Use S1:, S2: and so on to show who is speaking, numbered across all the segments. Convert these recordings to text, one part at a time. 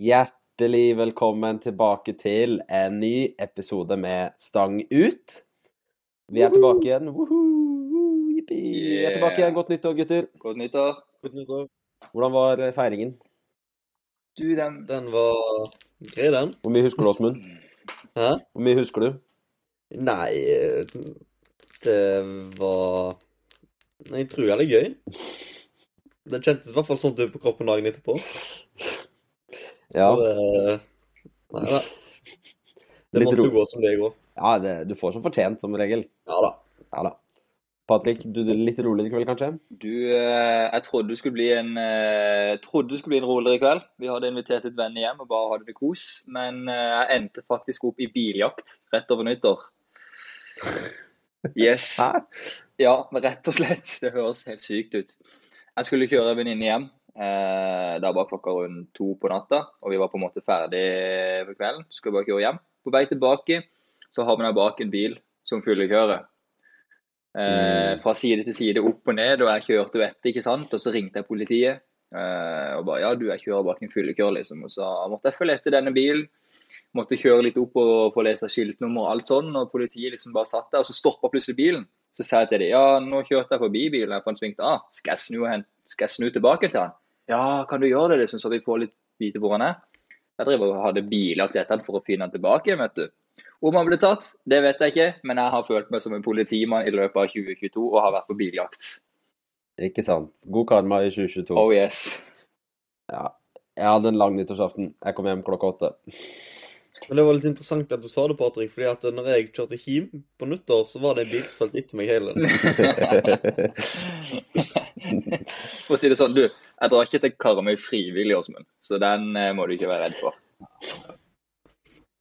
S1: Hjertelig velkommen tilbake til en ny episode med Stang ut. Vi er tilbake igjen. Woohoo! Jippi! Vi er tilbake igjen. Godt nyttår, gutter.
S2: Godt nyttår.
S3: Godt nyttår.
S1: Hvordan var eh, feiringen?
S2: Du, den
S3: Den var grei, den.
S1: Hvor mye husker du, Åsmund?
S3: Hæ?
S1: Hvor mye husker du?
S3: Nei, eh, det var Nei, Jeg tror det er gøy. Det kjentes i hvert fall sånn ut på kroppen dagen etterpå.
S1: Ja,
S3: Og, eh, Nei da. Det
S1: Litt
S3: måtte jo
S1: ro.
S3: gå som det går.
S1: ja det, du får som fortjent, som regel.
S3: Ja da.
S1: Ja da. Patrick, du er litt rolig i kveld, kanskje?
S2: Du, eh, jeg trodde du skulle bli en eh, trodde du skulle bli en roligere kveld. Vi hadde invitert et venner hjem og bare hadde det kos. Men eh, jeg endte faktisk opp i biljakt rett over nyttår. Yes.
S1: Hæ?
S2: Ja, men rett og slett. Det høres helt sykt ut. Jeg skulle kjøre en venninne hjem. Eh, det var klokka rundt to på natta, og vi var på en måte ferdig for kvelden. Skulle bare kjøre hjem. På vei tilbake så har vi der bak en bil som fyllekjører. Eh, fra side til side, opp og ned, og jeg kjørte jo etter, ikke sant. Og så ringte jeg politiet. Eh, og bare ja, du, jeg kjører bak en fyllekjører, liksom. Og så måtte jeg følge etter denne bilen. Måtte kjøre litt opp og få lese skiltnummer og alt sånn. Og politiet liksom bare satt der, og så stoppa plutselig bilen. Så sa jeg til dem ja, nå kjørte jeg forbi bilen, her, for han svingte av. Skal jeg snu, hen? Skal jeg snu tilbake til han? Ja, kan du gjøre det, liksom, så vi får litt vite hvor han er? Jeg driver og hadde biljakt etter han for å finne han tilbake, vet du. Om han ble tatt, det vet jeg ikke, men jeg har følt meg som en politimann i løpet av 2022 og har vært på biljakt.
S1: Ikke sant. God karma i 2022.
S2: Oh yes.
S1: Jeg hadde en lang nyttårsaften. Jeg kom hjem klokka åtte.
S3: Men det var litt interessant at du sa det, Patrick, fordi at når jeg kjørte hjem på nyttår, så var det en bil som fulgte etter meg hele den.
S2: For å si det sånn, du, jeg drar ikke til Karmøy frivillig, Åsmund, så den eh, må du ikke være redd for.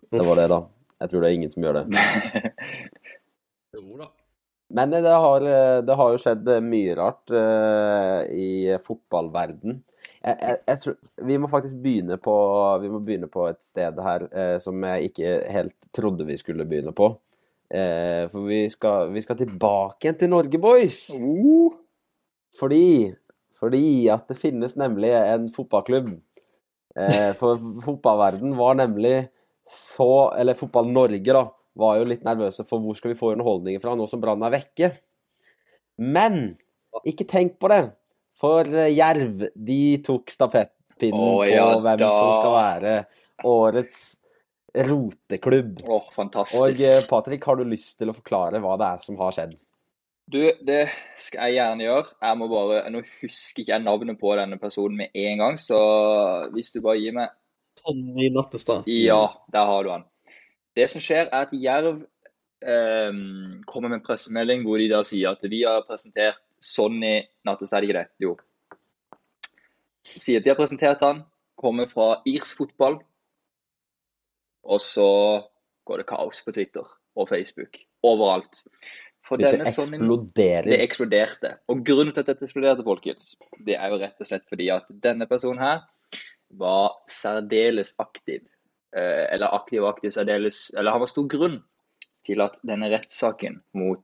S1: Det var det, da. Jeg tror det er ingen som gjør det.
S3: Jo da.
S1: Men det har, eh, det har jo skjedd mye rart eh, i fotballverden. Jeg, jeg, jeg tror, vi må faktisk begynne på, vi må begynne på et sted her eh, som jeg ikke helt trodde vi skulle begynne på. Eh, for vi skal, vi skal tilbake igjen til Norge, boys!
S2: Uh,
S1: Fordi, fordi at det finnes nemlig en fotballklubb. Eh, for fotballverden var nemlig så Eller Fotball-Norge, da, var jo litt nervøse for hvor skal vi få underholdningen fra nå som Brann er vekke. Men ikke tenk på det, for eh, Jerv de tok stafettpinnen
S2: Å, ja
S1: på hvem
S2: da.
S1: som skal være årets roteklubb.
S2: Åh, fantastisk.
S1: Og eh, Patrick, har du lyst til å forklare hva det er som har skjedd?
S2: Du, det skal jeg gjerne gjøre. Jeg må bare, Nå husker ikke jeg navnet på denne personen med en gang, så hvis du bare gir meg
S3: Tonje Sånn Nattestad.
S2: Ja, der har du han. Det som skjer, er at Jerv ehm, kommer med en pressemelding hvor de da sier at vi har presentert Sonny Nattestad, er det ikke det? Jo. Sier at de har presentert han, kommer fra irsk fotball. Og så går det kaos på Twitter og Facebook. Overalt. For
S1: Dette
S2: denne Sonny det
S1: eksploderer.
S2: eksploderte. Og grunnen til at dette eksploderte, folkens, det er jo rett og slett fordi at denne personen her var særdeles aktiv. Eh, eller aktiv og aktiv særdeles Eller han var stor grunn til at denne rettssaken mot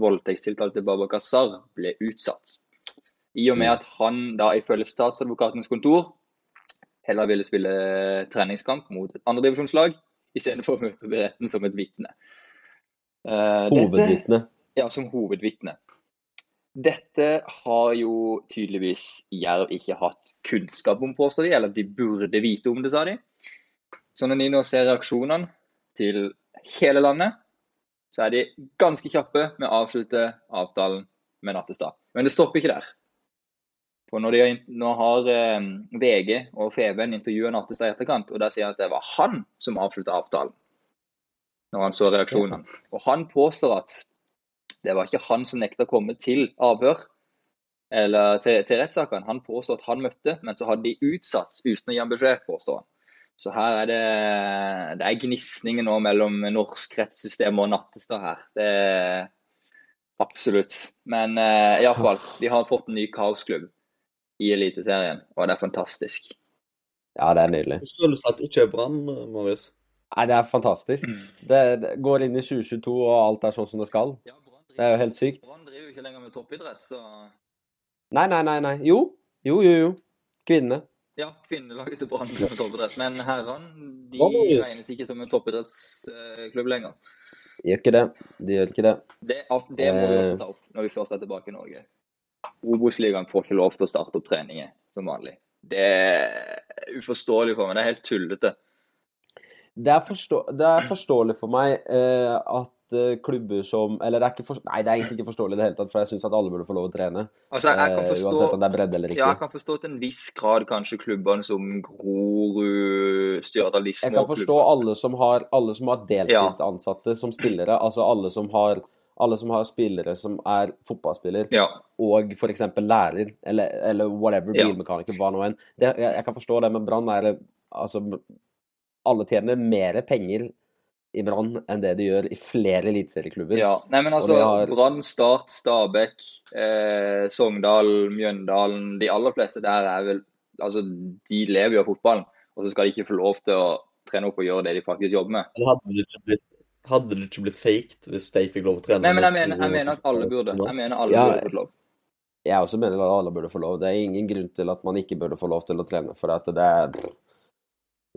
S2: voldtektstiltalte Baba Kazar ble utsatt. I og med at han da ifølge statsadvokatens kontor heller ville spille treningskamp mot et andredivisjonslag istedenfor å møte opp i retten som et vitne. Eh, dette-
S1: Hovedvitne.
S2: ja, som hovedvitne. Dette har jo tydeligvis Jerv ikke hatt kunnskap om, påstår de, eller de burde vite om det, sa de. Så når de nå ser reaksjonene til hele landet, så er de ganske kjappe med å avslutte avtalen med Nattestad. Men det stopper ikke der. For når de har, nå har eh, VG og Feven intervjua Nattestad i etterkant, og der sier han at det var han som avslutta avtalen, når han så reaksjonene. Og han påstår at det var ikke han som nekta å komme til avhør eller til, til rettssaken. Han påstår at han møtte, men så hadde de utsatt uten å gi ham beskjed, påstår han. Så her er det, det er gnisninger nå mellom norsk rettssystem og Nattestad her. Det er absolutt. Men eh, i alle fall, de har fått en ny kaosklubb i Eliteserien, og det er fantastisk.
S1: Ja, det er nydelig.
S3: Hvordan føles det at det ikke er brann, Marius?
S1: Nei, det er fantastisk.
S2: Mm.
S1: Det, det går inn i 2022, og alt er sånn som det skal. Det er jo helt sykt.
S2: Brann driver jo ikke lenger med toppidrett, så
S1: Nei, nei, nei. nei. Jo, jo, jo. jo. Kvinnene.
S2: Ja, kvinnelaget til Brann som toppidrett. Men herrene de
S3: Hva, Marius?
S2: regnes ikke som en toppidrettsklubb lenger.
S1: Gjør ikke det. De gjør ikke det.
S2: Det, alt- det må vi også ta opp når vi først er tilbake i Norge. Obos-ligaen får ikke lov til å starte opp treninger som vanlig. Det er uforståelig for meg. Det er helt tullete.
S1: Det er, forstå det er forståelig for meg eh, at eh, klubber som Eller det er ikke for Nei, det er egentlig ikke forståelig i det hele tatt, for jeg syns at alle burde få lov å trene.
S2: Altså, jeg, jeg
S1: eh,
S2: kan forstå
S1: uansett om det er bredde eller
S2: Ja, jeg
S1: ikke.
S2: kan forstå til en viss grad kanskje klubbene som Grorud,
S1: Jeg
S2: Stjørdal, Lismo
S1: kan forstå alle som har, alle som har deltidsansatte som spillere, altså alle som har alle som har spillere som er fotballspiller
S2: Ja.
S1: og f.eks. lærer eller, eller whatever,
S2: Ja.
S1: bilmekaniker, hva nå enn. Det, jeg, jeg kan forstå det, men Brann er Altså, alle tjener mer penger i Brann enn det de gjør i flere eliteserieklubber.
S2: ja. Nei, men altså,
S1: vi har-
S2: Brann, Start, Stabæk, eh, Sogndal, Mjøndalen De aller fleste der er vel Altså, de lever jo av fotballen, og så skal de ikke få lov til å trene opp og gjøre det de faktisk jobber med.
S3: Men hadde det ikke blitt, hadde det ikke blitt faked hvis de fikk lov å trene?
S2: Nei, men
S3: med
S2: jeg mener, jeg
S3: skoene
S2: mener
S3: til
S2: at alle burde.
S3: skoene?
S2: Jeg mener alle
S1: Ja.
S2: burde fått lov.
S1: Jeg også mener at alle burde få lov. Det er ingen grunn til at man ikke burde få lov til å trene. For at det er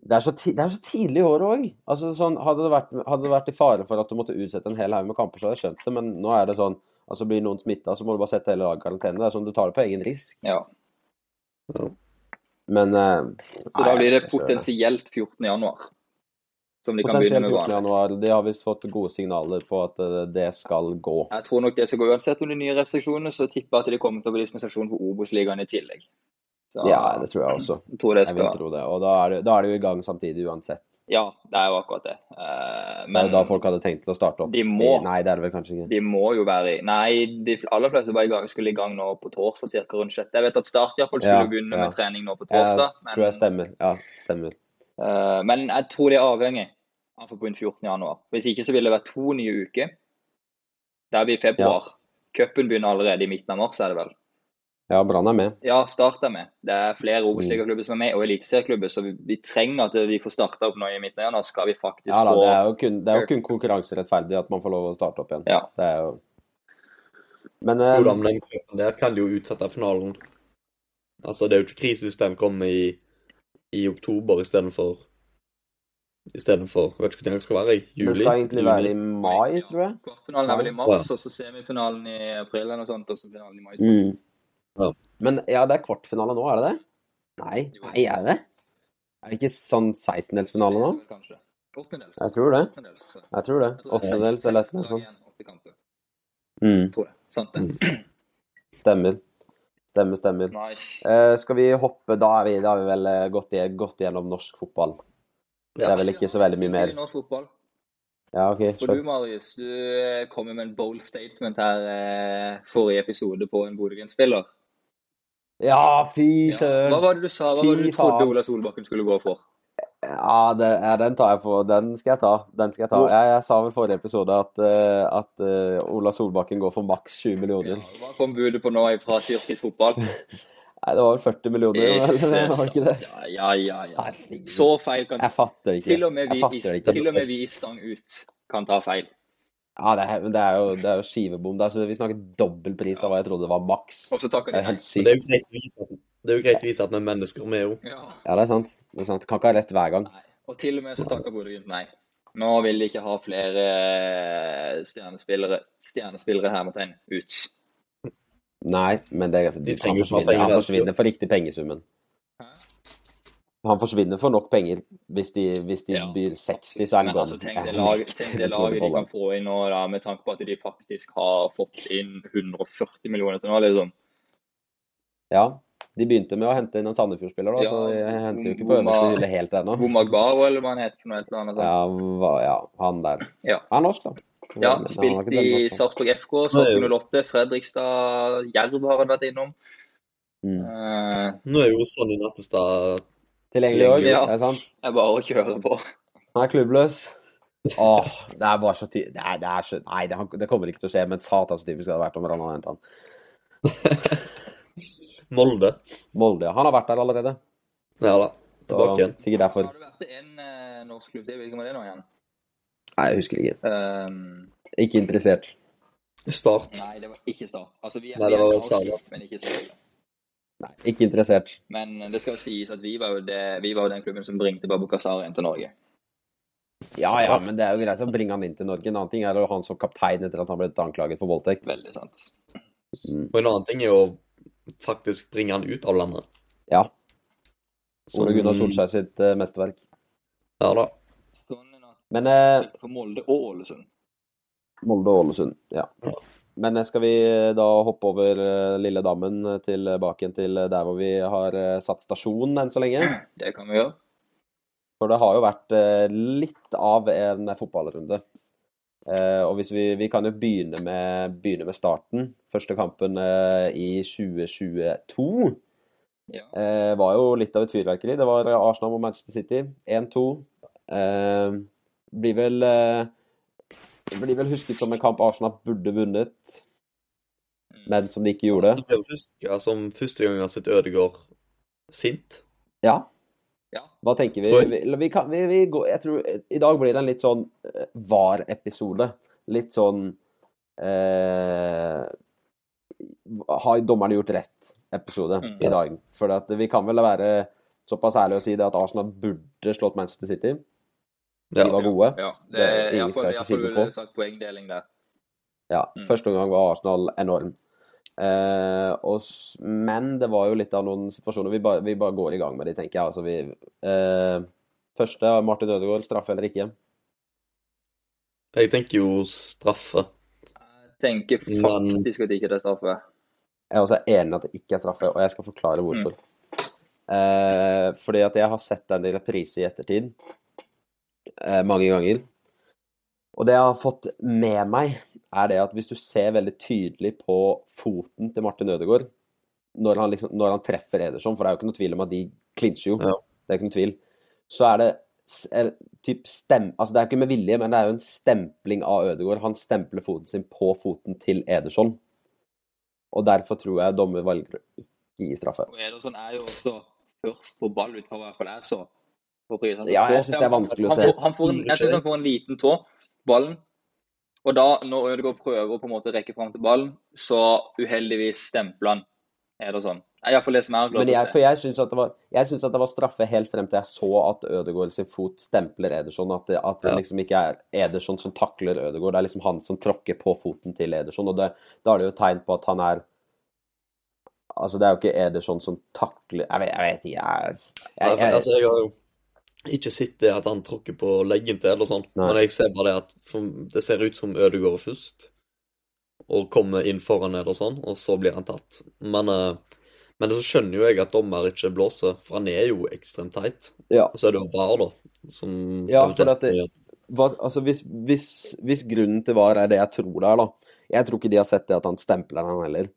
S1: Det er så, ti, det er så tidlig i året òg. Altså, sånn, hadde, det vært- hadde det vært i fare for at du måtte utsette en hel haug med kamper, så hadde jeg skjønt det, men nå er det sånn altså Blir noen smitta, så må du bare sette hele laget i karantene. Det er sånn, Du tar det på egen risk.
S2: Ja.
S1: Men eh,
S2: Så
S1: nei,
S2: da blir det
S1: jeg skjønner.
S2: potensielt 14. januar, som de kan
S1: Potensielt
S2: begynne med
S1: 14.
S2: vanlig.
S1: januar. De har visst fått gode signaler på at eh, det skal gå.
S2: Jeg tror nok det skal gå uansett om de nye restriksjonene, så tipper jeg at det kommer til å bli dispensasjon for Obos-ligaen i tillegg. Så
S1: Ja, det tror jeg også.
S2: jeg tror det
S1: Jeg vil
S2: skal
S1: tro det. Og da er det, da er det jo i gang samtidig uansett.
S2: Ja, det er jo akkurat det. Eh,
S1: Det er
S2: Men
S1: jo da folk hadde tenkt til å starte opp.
S2: De må.
S1: Nei, det er det vel kanskje ikke.
S2: de må jo være i Nei, de aller fleste var i gang, skulle i gang nå på torsdag, cirka rundt sjette. Jeg vet at Start i hvert fall skulle
S1: Ja,
S2: begynne
S1: ja.
S2: med trening nå på
S1: Jeg
S2: torsdag,
S1: Tror jeg
S2: men,
S1: stemmer. Ja, stemmer.
S2: eh, men jeg tror de er avhengig av å få begynne 14. januar. Hvis ikke så vil det være to nye uker. Det blir februar. Cupen begynner allerede i midten av mars, er det vel?
S1: Ja, Brann er med.
S2: Ja, start er med. Det er flere
S1: Mm.
S2: Obos-ligaklubber som er med, og eliteserieklubber, så vi, vi trenger at vi får starta opp nå i midten av januar. Skal vi faktisk
S1: Ja da,
S2: få
S1: det er jo kun, det er jo kun konkurranserettferdig at man får lov å starte opp igjen.
S2: Ja.
S1: Det er jo Men eh,
S3: Jo da, men den kampen der kan de jo utsette finalen. Altså, det er jo ikke krise hvis den kommer i, i oktober istedenfor Istedenfor Vet ikke når den skal være. i Juli?
S1: det skal egentlig
S3: Juni?
S1: være i mai, tror jeg.
S2: Kvartfinalen er vel i mars, og så semifinalen i april eller noe sånt, og så finalen i mai.
S3: Ja.
S1: Men ja, det er kvartfinale nå, er det det? Nei,
S2: Jo.
S1: nei, er det det? Er det ikke sånn 16-delsfinale nå?
S2: Kanskje. Åttendels.
S1: Jeg tror det.
S2: Åttendels. Jeg
S1: Jeg tror det.
S2: tror det er
S1: Åttendels
S2: seks-
S1: eller
S2: seks
S1: noe
S2: lag
S1: sånt.
S2: igjen opp i kampen,
S1: Mm,
S2: Tror jeg. Sant det.
S1: stemmer. Stemmer, stemmer.
S2: Nice.
S1: Eh, skal vi hoppe Da er vi, da har vi vel eh, gått, i, gått gjennom norsk fotball. Det
S3: Ja.
S1: er vel ikke så veldig mye mer.
S2: Til norsk fotball.
S1: Ja, OK.
S2: Og
S1: Kjør.
S2: du, Marius, du eh, kom jo med en bold statement her eh, forrige episode på en Bodø Glimt-spiller.
S1: Ja, fy
S2: Ja.
S1: søren!
S2: Hva var det du sa? Hva
S1: Fy
S2: var det du trodde
S1: faen.
S2: Ola Solbakken skulle gå for?
S1: Ja, det, ja, den tar jeg på. Den skal jeg ta. Den skal jeg ta.
S2: Hvor-
S1: Jeg, jeg sa vel forrige episode at, eh, at eh, Ola Solbakken går for maks 20
S2: Ja,
S1: millioner.
S2: hva kom budet på nå fra tyrkisk fotball?
S1: Nei, det var vel 40 millioner,
S2: Jesus.
S1: eller var det ikke det?
S2: Ja, ja, ja, ja.
S1: Herregud.
S2: Så feil kan
S1: Jeg fatter det ikke.
S2: Til og med
S1: jeg
S2: vi,
S1: fatter det ikke.
S2: til og med vi stang ut kan ta feil.
S1: Ja, det er, men det er jo, det er jo skivebom. Det er, så vi snakker dobbel pris av hva jeg trodde det var maks.
S2: Og så takker
S1: Det
S2: de
S1: er
S2: nei.
S1: helt
S3: Men Det
S1: sykt.
S3: er jo greit å vise at, det er jo greit å vise at vi er mennesker, vi er jo.
S2: Ja.
S1: Ja, det er sant. Det er sant. Kan ikke ha rett hver gang.
S2: nei. Og til og med så takker Bodø Glimt nei. Nå vil de ikke ha flere eh, stjernespillere, stjernespillere hermetegn ut.
S1: Nei, men det,
S3: De
S1: han,
S3: trenger jo ikke ha
S1: forsvinner, han
S3: penger,
S1: forsvinner for riktig pengesummen.
S2: Hæ?
S1: Han forsvinner for nok penger. Hvis de, hvis de
S2: Ja,
S1: byr 60, så er han
S2: Men altså,
S1: gone.
S2: tenk det
S1: Jeg
S2: laget,
S1: nekter
S2: tenk det
S1: å tro
S2: laget
S1: på
S2: de kan få inn nå, da, med tanke på at de faktisk har fått inn 140 millioner til nå, liksom.
S1: Ja, de begynte med å hente inn en Sandefjord-spiller, da,
S2: Ja,
S1: så de henter jo ikke på
S2: Boma-
S1: øverste hylle helt ennå.
S2: Bomagbaro, eller hva han heter for noe et eller annet. altså. sånt.
S1: Ja, hva- ja, han der.
S2: Ja.
S1: Han er norsk, da. Han
S2: Ja,
S1: var ikke
S2: spilt
S1: veldig
S2: i
S1: norsk, da.
S2: Sarpsborg FK, Sarpsborg 08, Fredrikstad, Jerv har han vært innom.
S1: Mm.
S2: Eh,
S3: Nå er jo sånn i Nattestad
S1: Tilgjengelig i år,
S2: Ja.
S1: er det sant?
S2: Jeg bare kjører på.
S1: Han er klubbløs. Åh, det er bare så ty... Det er, det er så... Nei, det, han- det kommer ikke til å skje, men satan så typisk det hadde vært om Rann hadde hentet han.
S3: Molde.
S1: Molde, ja. Han har vært der allerede.
S3: Ja da.
S1: Så
S3: Tilbake igjen.
S1: Sikkert derfor.
S2: Har det vært en eh, norsk klubb til? Hvilken var det nå igjen?
S1: Nei, jeg husker ikke.
S2: Eh,
S1: Ikke interessert.
S3: Start.
S2: nei, det var ikke Start. Altså, vi er
S3: Nei, det var
S2: vi er en norsk
S3: Sala.
S2: klubb, men ikke Start.
S1: Nei, ikke interessert.
S2: Men eh, det skal jo sies at vi var jo, det, vi var jo den klubben som bringte Babukazar inn til Norge.
S1: Ja, ja, men det er jo greit å bringe han inn til Norge. En annen ting er å ha han som kaptein etter at han ble anklaget for voldtekt.
S2: Veldig sant.
S1: Mm,
S3: Og en annen ting er jo faktisk bringe han ut av landet.
S1: Ja.
S3: Som-
S1: Ole Gunnar Solskjær sitt eh, mesterverk.
S3: Ja da.
S2: Sånn en at
S1: Men eh,
S2: på Molde og Ålesund.
S1: Molde og Ålesund, ja. Men eh, skal vi eh, da hoppe over eh, lille dammen eh, tilbake igjen til eh, der hvor vi har eh, satt stasjon enn så lenge?
S2: Det kan vi gjøre.
S1: For det har jo vært eh, litt av en fotballrunde. Eh, og hvis vi, vi kan jo begynne med, begynne med starten. Første kampen eh, i 2022
S2: Ja.
S1: eh, var jo litt av et fyrverkeri. Det var Arsenal mot Manchester City. 1-2. Eh, blir vel eh, Blir vel husket som en kamp Arsenal burde vunnet,
S2: Mm.
S1: men som de ikke gjorde.
S3: Det ble jo først, ja, som første gang jeg har sett Ødegaard sint.
S1: Ja.
S2: Ja.
S1: Hva tenker vi?
S3: Tror jeg-
S1: Vi, eller vi, kan, vi, vi går, jeg tror I dag blir det en litt sånn eh, var-episode. Litt sånn eh, Har dommerne gjort rett-episode
S2: Mm.
S1: i dag? For at vi kan vel være såpass ærlige og si det at Arsenal burde slått Manchester City. De
S3: Ja.
S1: var gode.
S2: Ja, det
S1: Det er
S2: er
S1: ingen som
S2: iallfall
S1: er til siden på.
S2: sagt poengdeling der.
S1: Ja,
S2: Mm.
S1: første omgang var Arsenal enorm. Eh, og, s- men det var jo litt av noen situasjoner Vi bare, vi bare går i gang med de, tenker jeg. Altså, vi, eh, første var Martin Ødegaard, straffe eller ikke.
S3: Jeg tenker jo straffe.
S2: Jeg tenker
S1: Mm.
S3: Men-
S2: faktisk at ikke det er straffe.
S1: Jeg er også enig i at det ikke er straffe, og jeg skal forklare hvorfor. Eh, fordi at jeg har sett den i reprise i ettertid eh, mange ganger. Og det jeg har fått med meg, er det at hvis du ser veldig tydelig på foten til Martin Ødegaard når han, liksom, når han treffer Ederson, for det er jo ikke noe tvil om at de klinsjer jo,
S3: Ja.
S1: det er ikke noe tvil, så er det s- er, typ stem, altså det er ikke med vilje, men det er jo en stempling av Ødegaard. Han stempler foten sin på foten til Ederson. Og derfor tror jeg dommer valger å ikke gi straffe.
S2: Og Ederson er jo også først på ball ut fra hva i hvert fall jeg så. På prisen.
S1: Ja, jeg synes det er vanskelig å
S2: Han
S1: se.
S2: får, han får en, jeg synes han får en liten tå, ballen. Og da, når Ødegaard prøver å på en måte rekke fram til ballen, så uheldigvis stempler han Ederson. Det sånn? er iallfall det som jeg har
S1: Men
S2: klart
S1: jeg,
S2: å
S1: for
S2: se.
S1: jeg syns at, det var- jeg synes at det var straffe helt frem til jeg så at Ødegaard sin fot stempler Ederson. At det, at det
S3: Ja.
S1: liksom ikke er Ederson som takler Ødegaard, det er liksom han som tråkker på foten til Ederson. Og det, da er det jo tegn på at han er Altså, det er jo ikke Ederson som takler Jeg vet, jeg vet ikke, jeg, jeg,
S3: Nei, for-
S1: jeg
S3: altså, jeg har jo ikke sett det at han tråkker på leggen til, eller sånt,
S1: Nei.
S3: men jeg ser bare det at for- det ser ut som Ødegaard først, og kommer inn foran eller sånn, og så blir han tatt. Men, eh, men så skjønner jo jeg at dommer ikke blåser, for han er jo ekstremt teit.
S1: Ja.
S3: Og så er det jo VAR, da, som
S1: Ja, for at det-
S3: eventuelt-
S1: hva, altså hvis, hvis, hvis grunnen til VAR er det jeg tror det er, da Jeg tror ikke de har sett det at han stempler han heller.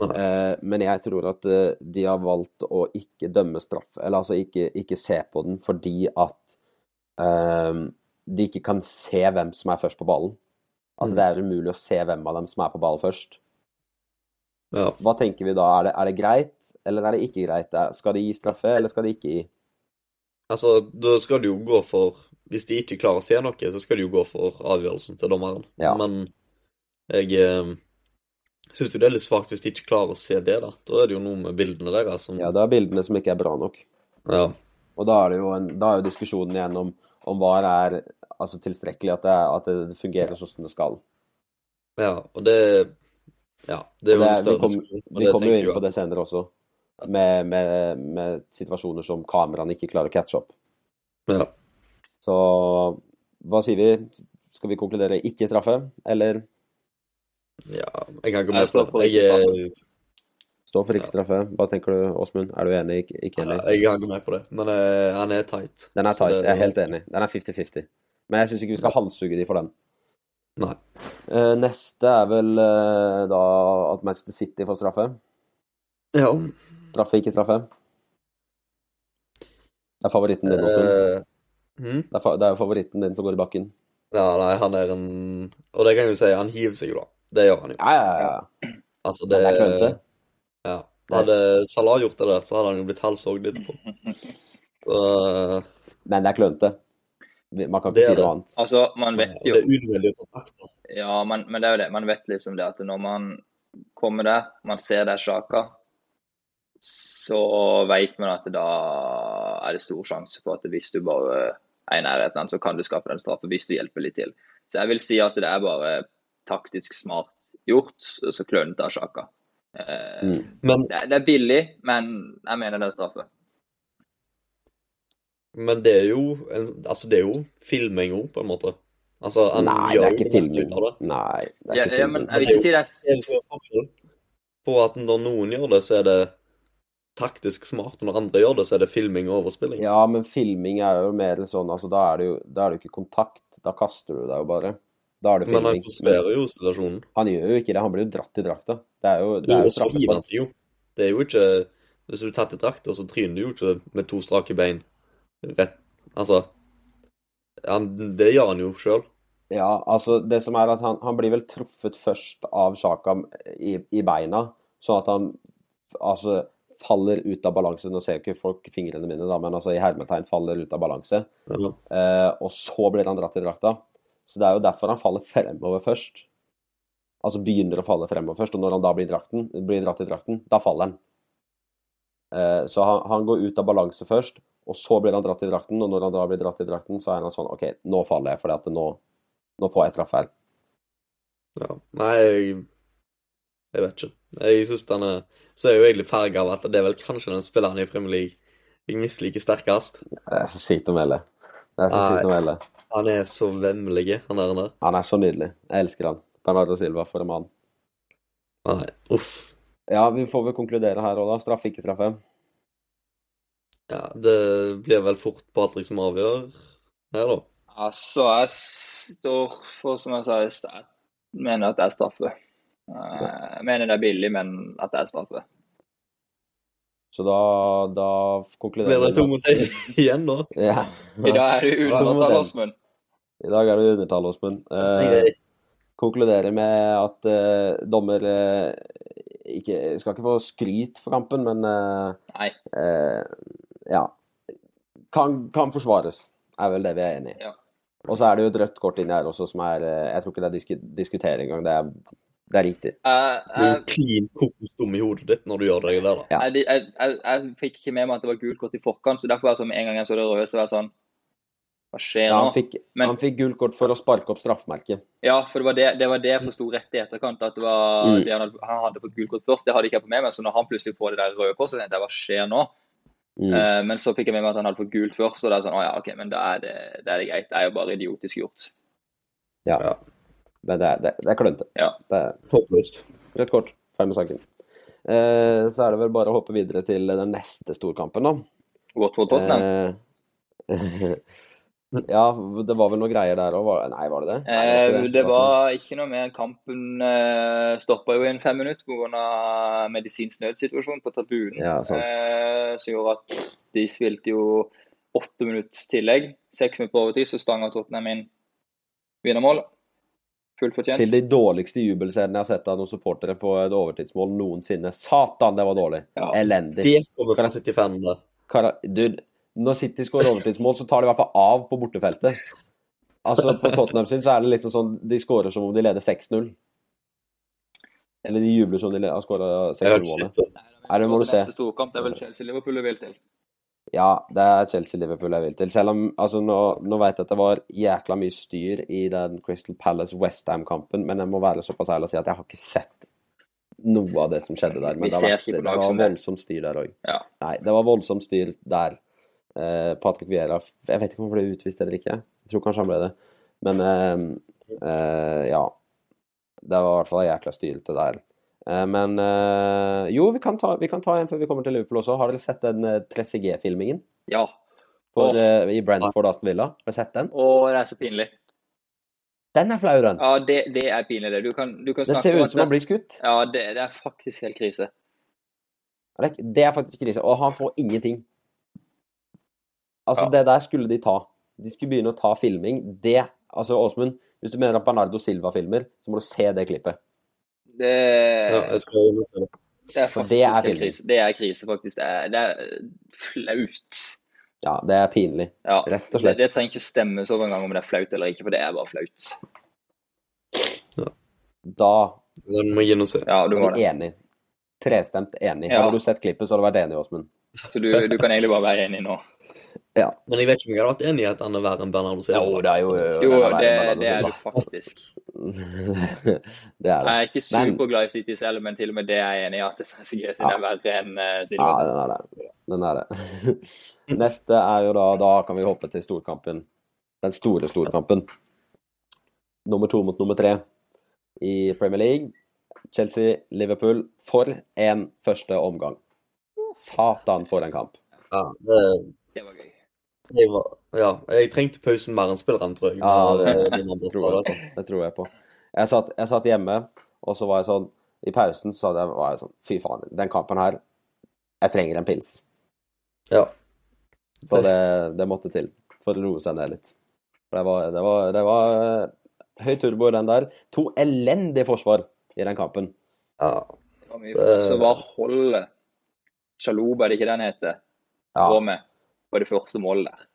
S3: Nei.
S1: Eh, men jeg tror at eh, de har valgt å ikke dømme straff, eller altså ikke, ikke se på den, fordi at eh, de ikke kan se hvem som er først på ballen. At
S3: Mm.
S1: det er umulig å se hvem av dem som er på ballen først.
S3: Ja.
S1: Hva tenker vi da? Er det, er det greit, eller er det ikke greit? Er- Skal de gi straffe, eller skal de ikke gi?
S3: Altså, da skal det jo gå for Hvis de ikke klarer å se noe, så skal det jo gå for avgjørelsen til dommeren.
S1: Ja.
S3: Men jeg eh, syns jo det er litt svakt hvis de ikke klarer å se det, da. Da er det jo noe med bildene deres som
S1: Ja, det er bildene som ikke er bra nok.
S3: ja.
S1: Og da er det jo, en, da er jo diskusjonen igjen om, om hva er altså, tilstrekkelig, at det, er- at det fungerer sånn som det skal.
S3: ja. Og det Ja, det er jo
S1: Det er-
S3: en større
S1: vi kom-
S3: diskusjon. men
S1: Vi
S3: det
S1: kommer jo
S3: tenker
S1: inn på
S3: jeg-
S1: det senere også, med, med, med situasjoner som kameraene ikke klarer å catche opp.
S3: Ja.
S1: Så hva sier vi? Skal vi konkludere ikke straffe, eller
S3: ja. Jeg kan ikke
S2: Jeg
S3: med
S2: står
S3: på
S2: for
S3: det. Jeg, er-
S1: stå for ikke straffe? Hva tenker du, Åsmund? Er du enig? Ikke, ikke enig?
S3: eh, jeg kan ikke med på det. Men eh, han er tight.
S1: Den er
S3: så
S1: tight,
S3: det-
S1: jeg er helt enig. Den er 50-50. Men jeg syns ikke vi skal halshugge de for den.
S3: Nei.
S1: Eh, Neste er vel eh, da at Manchester City får straffe.
S3: Ja.
S1: Straffe, ikke straffe? Det er favoritten din, Åsmund.
S3: eh, hm?
S1: Det er fa- det er jo favoritten din som går i bakken.
S3: Ja, nei, han er en Og det kan jeg jo si, han hiver seg jo, da. Det gjør han jo.
S1: Ja, ja, ja, ja.
S3: Altså,
S1: Men det er klønete.
S3: Ja. Hadde Salah gjort det der, så hadde han jo blitt halshogd etterpå. Så,
S1: Men det er klønete. Vi- Man kan
S3: Det
S1: ikke si
S3: er det.
S1: noe annet.
S2: Altså, man
S3: det
S2: vet jo
S3: er unødvendig å ta takt. da.
S2: Ja, men, men det er jo det. Man vet liksom det at når man kommer der, man ser det er Sjaka, så vet man at da er det stor sjanse for at hvis du bare er i nærheten av den, så kan du skaffe den straffe hvis du hjelper litt til. Så jeg vil si at det er bare taktisk smart gjort, og så klønete av Sjaka. Eh,
S1: Mm.
S3: Men,
S2: det, er- det er billig, men jeg mener det er straffe.
S3: men det er jo en, Altså, det er jo filming òg, på en måte. Altså, han
S1: Nei, det
S3: gjør
S1: er
S3: jo
S1: ikke
S3: det meste
S1: filming.
S3: ut av det.
S1: Nei, det er
S2: Ja,
S1: ikke
S2: ja, men
S1: filming.
S2: jeg vil ikke si det.
S3: Det er det som er forskjellen. På at når noen gjør det, så er det taktisk smart, og når andre gjør det, så er det filming og overspilling.
S1: Ja, men filming er jo mer sånn altså, Da er det jo da er det jo ikke kontakt. Da kaster du deg jo bare. Da er det
S3: Men han
S1: filming.
S3: konserverer jo situasjonen.
S1: Han gjør jo ikke det. Han blir jo dratt i drakta. Det er jo, det
S3: Jo,
S1: er jo
S3: og så
S1: straffe
S3: hiver
S1: på
S3: han seg jo. Det er jo ikke Hvis du altså, er tatt i drakta, så tryner du jo ikke med to strake bein rett Altså han, Det gjør han jo sjøl.
S1: Ja, altså det som er at han, han blir vel truffet først av Sjaka i, i beina, sånn at han altså faller ut av balanse. Nå ser jo ikke folk fingrene mine, da, men altså i hermetegn faller ut av balanse.
S3: Ja.
S1: Eh, og så blir han dratt i drakta. Så det er jo derfor han faller fremover først. Altså begynner å falle fremover først, og når han da blir, drakten, blir dratt i drakten, da faller han. Eh, så han, han går ut av balanse først, og så blir han dratt i drakten, og når han da blir dratt i drakten, så er han sånn OK, nå faller jeg, fordi at nå, nå får jeg straffe her.
S3: Ja. Nei, jeg, jeg vet ikke. Jeg syns han er Så er jeg jo egentlig farga av at det er vel kanskje den spilleren i Premier League jeg misliker sterkest.
S1: Det er så sykt å melde. Det er så
S3: Nei.
S1: sykt å melde.
S3: Han er så vemmelig, han der. han der.
S1: Han er så nydelig. Jeg elsker han. Bernardo Silva, for en mann.
S3: Nei, uff.
S1: Ja, vi får vel konkludere her òg, da. Straffe, ikke straffe.
S3: Ja, det blir vel fort Patrick som avgjør her, da.
S2: Altså, jeg står for, som jeg sa i stad, mener at det er straffe. Eh, Jeg mener det er billig, men at det er straffe.
S1: Så da, da konkluderer
S3: Blir det
S1: vi
S3: to
S1: med-
S3: mot én igjen, da?
S1: Ja.
S2: I dag er det
S1: Ja,
S2: uttalt
S1: men
S2: av
S1: den-
S2: Åsmund.
S1: I dag er det undertall, Åsmund. Eh, konkluderer med at eh, dommer eh, ikke, skal ikke få skryt for kampen, men eh,
S2: Nei.
S1: eh, ja. Kan, kan forsvares, er vel det vi er enig i.
S2: Ja.
S1: Og så er det jo et rødt kort inni her også, som er eh, Jeg tror ikke det er disk diskutere engang. Det er, det er riktig.
S2: Jeg,
S3: Du er
S2: jeg,
S3: jo klin kokos dum i hodet ditt når du gjør det der, da.
S1: Ja.
S2: jeg, jeg, jeg, jeg fikk ikke med meg at det var gult kort i forkant, så derfor var jeg sånn, med en gang jeg så det røde, så var jeg sånn Hva skjer
S1: Ja,
S2: nå?
S1: han fikk,
S2: men-
S1: han fikk gult kort for å sparke opp straffemerket.
S2: Ja, for det var det, det var det jeg forsto rett i etterkant. At det var
S1: Mm.
S2: det han, hadde, han hadde fått gult kort først. Det hadde ikke jeg fått med meg. Så når han plutselig får det der røde kortet, tenkte jeg hva skjer nå?
S1: Mm.
S2: Eh, men så fikk jeg med meg at han hadde fått gult først, og det er sånn å ja, OK, men da er det, da er det greit. Det er jo bare idiotisk gjort.
S1: Men det er, det, det er klønete.
S2: Ja.
S1: Det er
S3: Håpløst.
S1: Rødt kort. Ferdig med saken. Eh, så er det vel bare å hoppe videre til den neste storkampen, da.
S2: Watford Tottenham.
S1: Eh, ja, det var vel noe greier der òg? Nei, var det det? Nei,
S2: Eh,
S1: ikke
S2: det var ikke noe mer. Kampen eh, stoppa jo i en fem minutter pga. medisinsk nødsituasjon på tribunen.
S1: Ja, sant.
S2: eh, som gjorde at de spilte jo åtte minutter tillegg. Seks minutter på overtid, så stanga Tottenham inn vinnermål. Fullt fortjent.
S1: Til de dårligste jubelscenene jeg har sett av noen supportere på et overtidsmål noensinne. Satan, det var dårlig!
S2: Ja.
S1: Elendig.
S3: Det kommer fra 75, det.
S1: Kara Dude, når City skårer overtidsmål, så tar de i hvert fall av på bortefeltet. Altså, På Tottenham sin så er det liksom sånn de skårer som om de leder 6-0. Eller de jubler som om de leder- har skåra
S3: Jeg har ikke
S1: 6-0-målet.
S3: sett det.
S1: Nei, det må du se.
S2: Neste storkamp det er vel Chelsea-Liverpool du vil til.
S1: Ja, det er Chelsea-Liverpool jeg vil til. Selv om altså, nå, nå vet jeg at det var jækla mye styr i den Crystal Palace-Westham-kampen, men jeg må være såpass ærlig og si at jeg har ikke sett noe av det som skjedde der.
S2: Vi
S1: Men det,
S2: ser
S1: har vært,
S2: ikke på
S1: det
S2: lag
S1: var
S2: som det.
S1: voldsomt styr der òg.
S2: Ja.
S1: Nei, det var voldsomt styr der. Eh, Patrick Vieira Jeg vet ikke om han ble utvist eller ikke. Jeg tror kanskje han ble det. Men eh, eh, ja. Det var i hvert fall jækla styrete der. Eh, men eh, jo, vi kan, ta, vi kan ta en før vi kommer til Liverpool også. Har dere sett den eh, 3CG-filmingen?
S2: ja.
S1: for,
S2: Åh.
S1: eh, i Brentford Aston Villa. Har du sett den?
S2: Og det er så pinlig.
S1: Den er flau, den.
S2: Ja, det, det er pinlig, det. Du kan, du kan
S1: Det
S2: snakke
S1: ser
S2: om
S1: ut som han blir skutt.
S2: Ja, det, det er faktisk helt krise.
S1: Det er- Det er faktisk krise. Og han får ingenting. Altså,
S2: Ja.
S1: det der skulle de ta. De skulle begynne å ta filming. Det Altså, Åsmund, hvis du mener at Bernardo Silva filmer, så må du se det klippet.
S2: Det,
S3: Ja, jeg skal inn og se det.
S2: det er
S1: for
S2: faktisk
S1: det er
S2: helt
S1: pinlig.
S2: krise. Det er krise, faktisk. Det er, det er flaut.
S1: Ja, det er pinlig.
S2: Ja.
S1: Rett og
S2: Det,
S1: slett.
S2: det trenger ikke stemmes over engang om det er flaut eller ikke, for det er bare flaut.
S1: Da
S3: Den må jeg inn og se.
S2: Ja, du
S1: er
S2: må
S1: vi
S2: det.
S1: enige. trestemt enig.
S2: Ja.
S1: Hadde du sett klippet, så hadde du vært enig, Åsmund.
S2: Så du, du kan egentlig bare være enig nå.
S3: Men jeg vet ikke om jeg hadde vært enig i at han er verre enn Bernardo Silva.
S1: Jo, det er jo
S2: Jo,
S1: den
S2: det,
S1: verden,
S2: det er
S1: altså.
S2: du faktisk.
S1: det er det.
S2: Jeg er ikke
S1: Men-
S2: superglad i City selv, men til og med det er jeg enig i at PSG sin
S1: Ja.
S2: er verre enn eh,
S1: Ja,
S2: Silva.
S1: den er det. Den er det. Neste er jo da Da kan vi hoppe til storkampen. Den store storkampen. Nummer to mot nummer tre i Premier League. Chelsea-Liverpool for en første omgang. Satan, for en kamp.
S3: Ja, det,
S2: Det var gøy.
S3: jeg var, ja, jeg trengte pausen mer enn spilleren, tror jeg.
S1: Ja, det-
S3: Men, eh, de andre sa
S1: tror jeg på. Det tror jeg på. Jeg satt, jeg satt hjemme, og så var jeg sånn I pausen så hadde jeg- var jeg sånn Fy faen, den kampen her Jeg trenger en pils.
S3: Ja.
S1: Så det, det måtte til for å roe seg ned litt. For det var, det var, det var eh, høy turbo i den der. To elendige forsvar i den kampen.
S3: Ja.
S2: Det var mye.
S3: Det-
S2: Så var holdet Sjaloba, er det ikke den heter?
S1: Ja.
S2: Var med på det første målet der.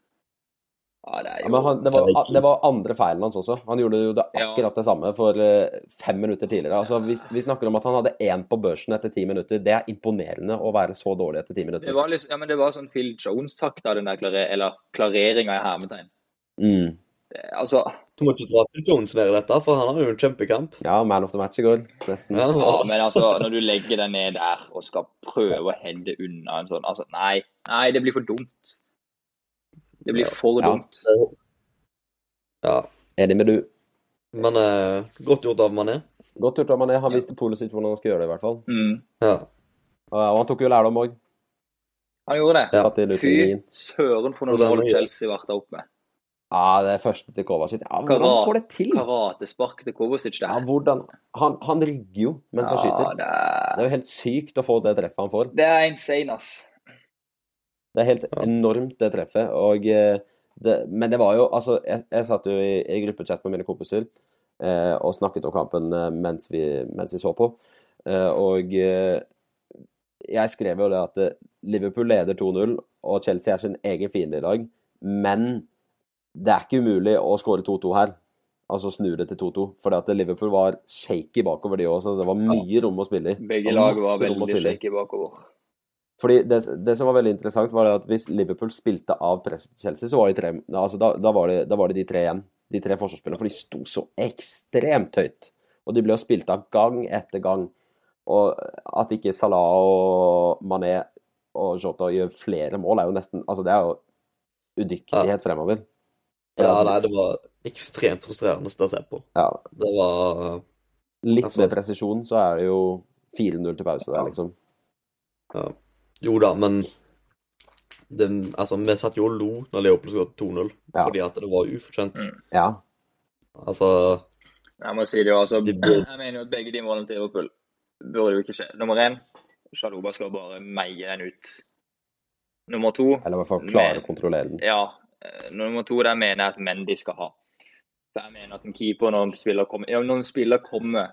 S2: Ja, det er
S1: Ja,
S2: jo
S1: Men han, det,
S3: det er
S1: var,
S3: ikke-
S1: det var andre feilen hans også. Han gjorde jo det
S2: Ja.
S1: akkurat det samme for eh, fem minutter tidligere. Altså, vi, vi snakker om at han hadde én på børsen etter ti minutter. Det er imponerende å være så dårlig etter ti
S2: Det
S1: minutter.
S2: var, liksom, ja, men det var sånn Phil Jones-takt av den der klarer, eller klareringa i hermetegn.
S1: Mm.
S2: Det- Altså,
S3: Du må ikke dra til Jones ned i dette, for han har jo en kjempekamp.
S1: Ja, man of the match i går, nesten.
S3: Ja,
S2: ja, men altså, når du legger deg ned der og skal prøve å hente unna en sånn altså, Nei, nei, det blir for dumt. Det blir for
S1: Ja.
S2: dumt.
S3: ja.
S1: Enig med du.
S3: Men eh, godt gjort av Mané.
S1: Godt gjort av Mané. Han visste polet sitt hvordan han skulle gjøre det, i hvert fall.
S2: Mm.
S3: Ja.
S1: Og og han tok jo lærdom òg.
S2: Han gjorde det.
S3: Ja.
S1: Satt i
S2: Fy
S1: utligningen.
S2: søren for noen
S3: Og den
S2: mål
S3: er-
S2: Chelsea varta opp med.
S1: Ja, det første til Kovacic. Ja, hvordan
S2: Karat-
S1: får det til?
S2: Karatespark til Kovacic der.
S1: Ja, hvordan? Han, han rygger jo mens han
S2: Ja,
S1: skyter.
S2: det
S1: Det
S2: er,
S1: er jo helt sykt å få det treffet han får.
S2: det er insane, ass.
S1: Det er helt
S3: Ja.
S1: enormt, det treffet. Og eh, det, men det var jo Altså, jeg, jeg satt jo i, i gruppechat med mine kompiser eh, og snakket om kampen eh, mens vi, mens vi så på. Eh, og eh, jeg skrev jo det at eh, Liverpool leder 2-0, og Chelsea er sin egen fiende i dag. Men det er ikke umulig å skåre 2-2 her. Altså snu det til 2-2. Fordi at Liverpool var shaky bakover, de òg. Så det var mye rom å spille i.
S2: Begge
S1: Og
S2: lag var
S1: masse rom å
S2: veldig
S1: spille i.
S2: shaky bakover.
S1: Fordi det, det som var veldig interessant, var det at hvis Liverpool spilte av presset til Chelsea, så var de tre, altså da, da, var det, da var det de tre igjen. De tre forsvarsspillerne. For de sto så ekstremt høyt. Og de ble jo spilt av gang etter gang. Og at ikke Salah og Mané og Jota gjør flere mål, er jo nesten Altså, det er jo udyktighet fremover.
S3: Ja, nei, det var ekstremt frustrerende å se på.
S1: Ja.
S3: Det var eh,
S1: Litt
S3: Altså-
S1: mer presisjon, så er det jo 4-0 til pause der, liksom.
S3: Jo da, men den, altså, vi satt jo og lo når Leopold skåret 2-0,
S1: Ja.
S3: fordi at det var ufortjent.
S2: Mm.
S1: Ja.
S3: Altså
S2: Jeg må si det jo, altså.
S3: De burde-
S2: Jeg mener jo at begge de målene til Liverpool burde jo ikke skje. Nummer én, Sjaloba skal bare meie den ut. Nummer to,
S1: Eller i hvert fall klare
S2: Men-
S1: å kontrollere den.
S2: ja. eh, Nummer to, der mener jeg at Mendy skal ha. For jeg mener at en keeper, når en spiller kommer, ja, når en spiller kommer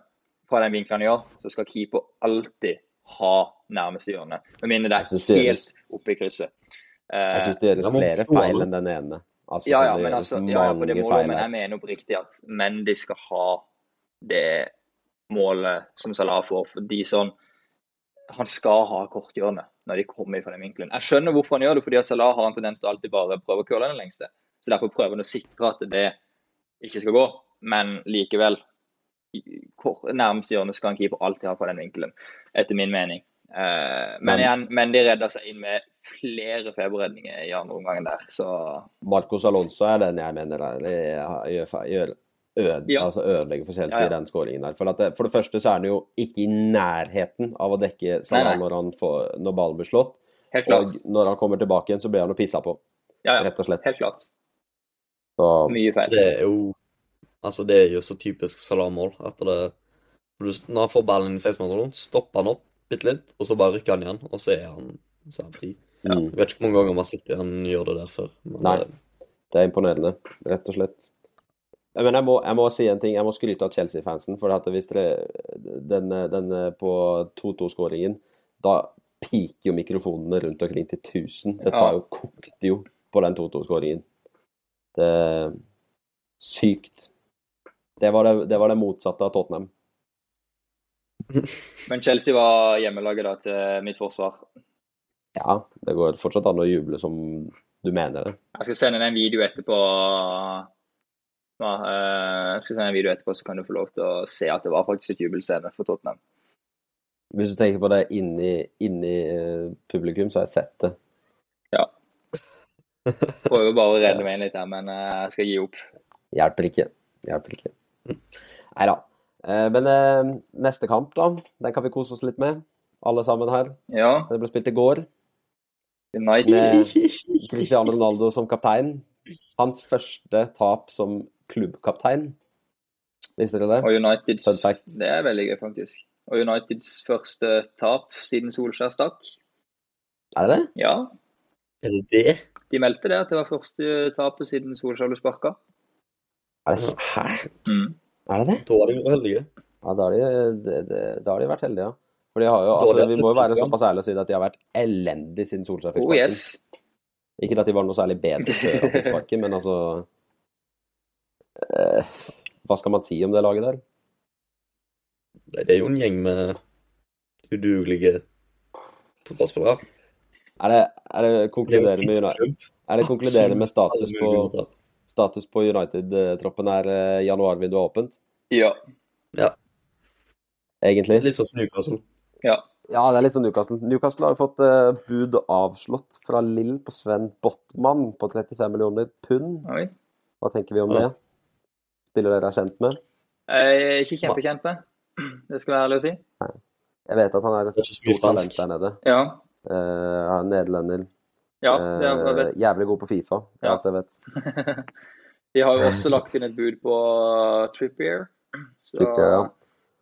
S2: fra den vinkelen han gjør, så skal keeper alltid ha nærmeste hjørne. Med mindre det
S1: Jeg synes
S2: er
S1: det gjøres-
S2: helt oppe i krysset. Eh,
S1: Jeg syns det gjøres
S3: Ja, men
S1: flere
S3: skåler.
S1: feil enn den ene. Altså,
S2: Ja,
S1: sånn,
S2: ja,
S1: det
S2: men
S1: gjøres
S2: altså, ja, ja, på det
S1: mange
S2: målet,
S1: feil
S2: men
S1: her.
S2: jeg mener oppriktig at menn de skal ha det målet som Salah får. fordi sånn, Han skal ha korthjørnet når de kommer fra den vinkelen. Jeg skjønner hvorfor han gjør det, fordi at Salah har en tendens til å alltid bare prøve å køle den lengste. Så Derfor prøver han å sikre at det ikke skal gå, men likevel i- kor- Nærmeste hjørne skal en keeper alltid ha fra den vinkelen, etter min mening. Eh, men
S1: Men-
S2: igjen, men de redda seg inn med flere feberredninger i andre omgang der, så
S1: Marcos Alonso er den jeg mener er, gjør, fe- gjør, øde,
S2: Ja.
S1: altså ødelegger for Chelsea
S2: Ja, ja.
S1: i den skåringen der. For, at det, for det første så er han jo ikke i nærheten av å dekke Salah
S2: Nei, nei.
S1: Når, han får, når ballen blir slått.
S2: helt klart.
S1: Og når han kommer tilbake igjen, så blir han jo pissa på,
S2: Ja, ja.
S1: rett og slett.
S2: Helt klart.
S1: Så,
S2: Mye feil.
S3: Det er jo Altså, det er jo så typisk Salah-mål at det når du- Når han får ballen i 16-meteren, stopper han opp bitte litt, og så bare rykker han igjen, og så er han, så er han fri.
S1: mm,
S3: Jeg vet ikke hvor mange ganger man har sett han gjør det der før. Men
S1: Nei.
S3: det-
S1: det er imponerende, rett og slett. Men jeg må, jeg må si en ting. Jeg må skryte av Chelsea-fansen. For at hvis dere den, den på 2-2-skåringen Da piker jo mikrofonene rundt omkring til 1000. Det
S2: Ja.
S1: tar jo kokte jo på den 2-2-skåringen. Det er Sykt. Det var det, det var det motsatte av Tottenham.
S2: Men Chelsea var hjemmelaget da til mitt forsvar.
S1: Ja, det går fortsatt an å juble som du mener det.
S2: Jeg skal sende deg en video etterpå. Ja, eh, jeg skal sende deg en video etterpå, så kan du få lov til å se at det var faktisk et jubelscene for Tottenham.
S1: Hvis du tenker på det inni, inni eh, publikum, så har jeg sett det.
S2: Prøver bare å redde meg inn litt her, men eh, jeg skal gi opp.
S1: Hjelper ikke. Hjelper ikke. Nei da. Men eh, neste kamp, da. Den kan vi kose oss litt med, alle sammen her.
S2: Ja,
S1: Den ble spilt i går.
S3: eh,
S2: United.
S1: Med Cristiano Ronaldo som kaptein. Hans første tap som klubbkaptein. Visste dere det?
S2: Og Uniteds
S1: Fun fact.
S2: Det er veldig gøy, faktisk. Og Uniteds første tap siden Solskjær stakk.
S1: Er det det?
S2: Ja,
S3: Er det det?
S2: de meldte det, at det var første tapet siden Solskjær ble sparka.
S1: Er det? s- Hæ?
S2: Mm.
S1: Er det det?
S3: Da er de uheldige.
S1: Ja, da har de, det- det- da har de vært heldige, ja. For de har jo,
S3: Dårlig
S1: altså, vi må jo være
S3: atletikk, ja.
S1: såpass ærlige og si at de har vært elendige siden Solskjær fikk
S2: Oh
S1: sparken.
S2: yes.
S1: Ikke at de var noe særlig bedre før han fikk sparken, men altså eh, Hva skal man si om det laget der?
S3: Nei, Det er jo en gjeng med udugelige fotballspillere.
S1: Er det, er det
S3: Det er jo
S1: konkluderer
S3: en
S1: med, Uni-
S3: tidsklubb.
S1: er det konkluderer med
S3: Absolutt
S1: status
S3: alle
S1: på,
S3: mulige måter.
S1: status på United-troppen er eh, januarvinduet er åpent,
S2: Ja.
S1: egentlig?
S3: Litt sånn Newcastle.
S2: ja.
S1: Ja, det er litt sånn Newcastle. Newcastle har jo fått eh, bud avslått fra Lill på Sven Botman på 35 millioner pund.
S2: Oi.
S1: Hva tenker vi om
S3: Ja.
S1: det? Spiller dere er kjent med?
S2: Jeg er ikke kjempekjent med. Det skal være ærlig å si.
S1: Jeg vet at han er
S3: Det
S1: et
S3: er ikke så mye
S1: stort talent
S3: fransk.
S1: der nede.
S2: Ja.
S1: Eh, han er nederlender.
S2: ja det er, jeg
S1: Eh,
S2: vet.
S1: jævlig god på Fifa, ja.
S2: Ja.
S1: at jeg vet.
S2: De har jo også lagt inn et bud på Trippier. Så
S1: Trippier, ja.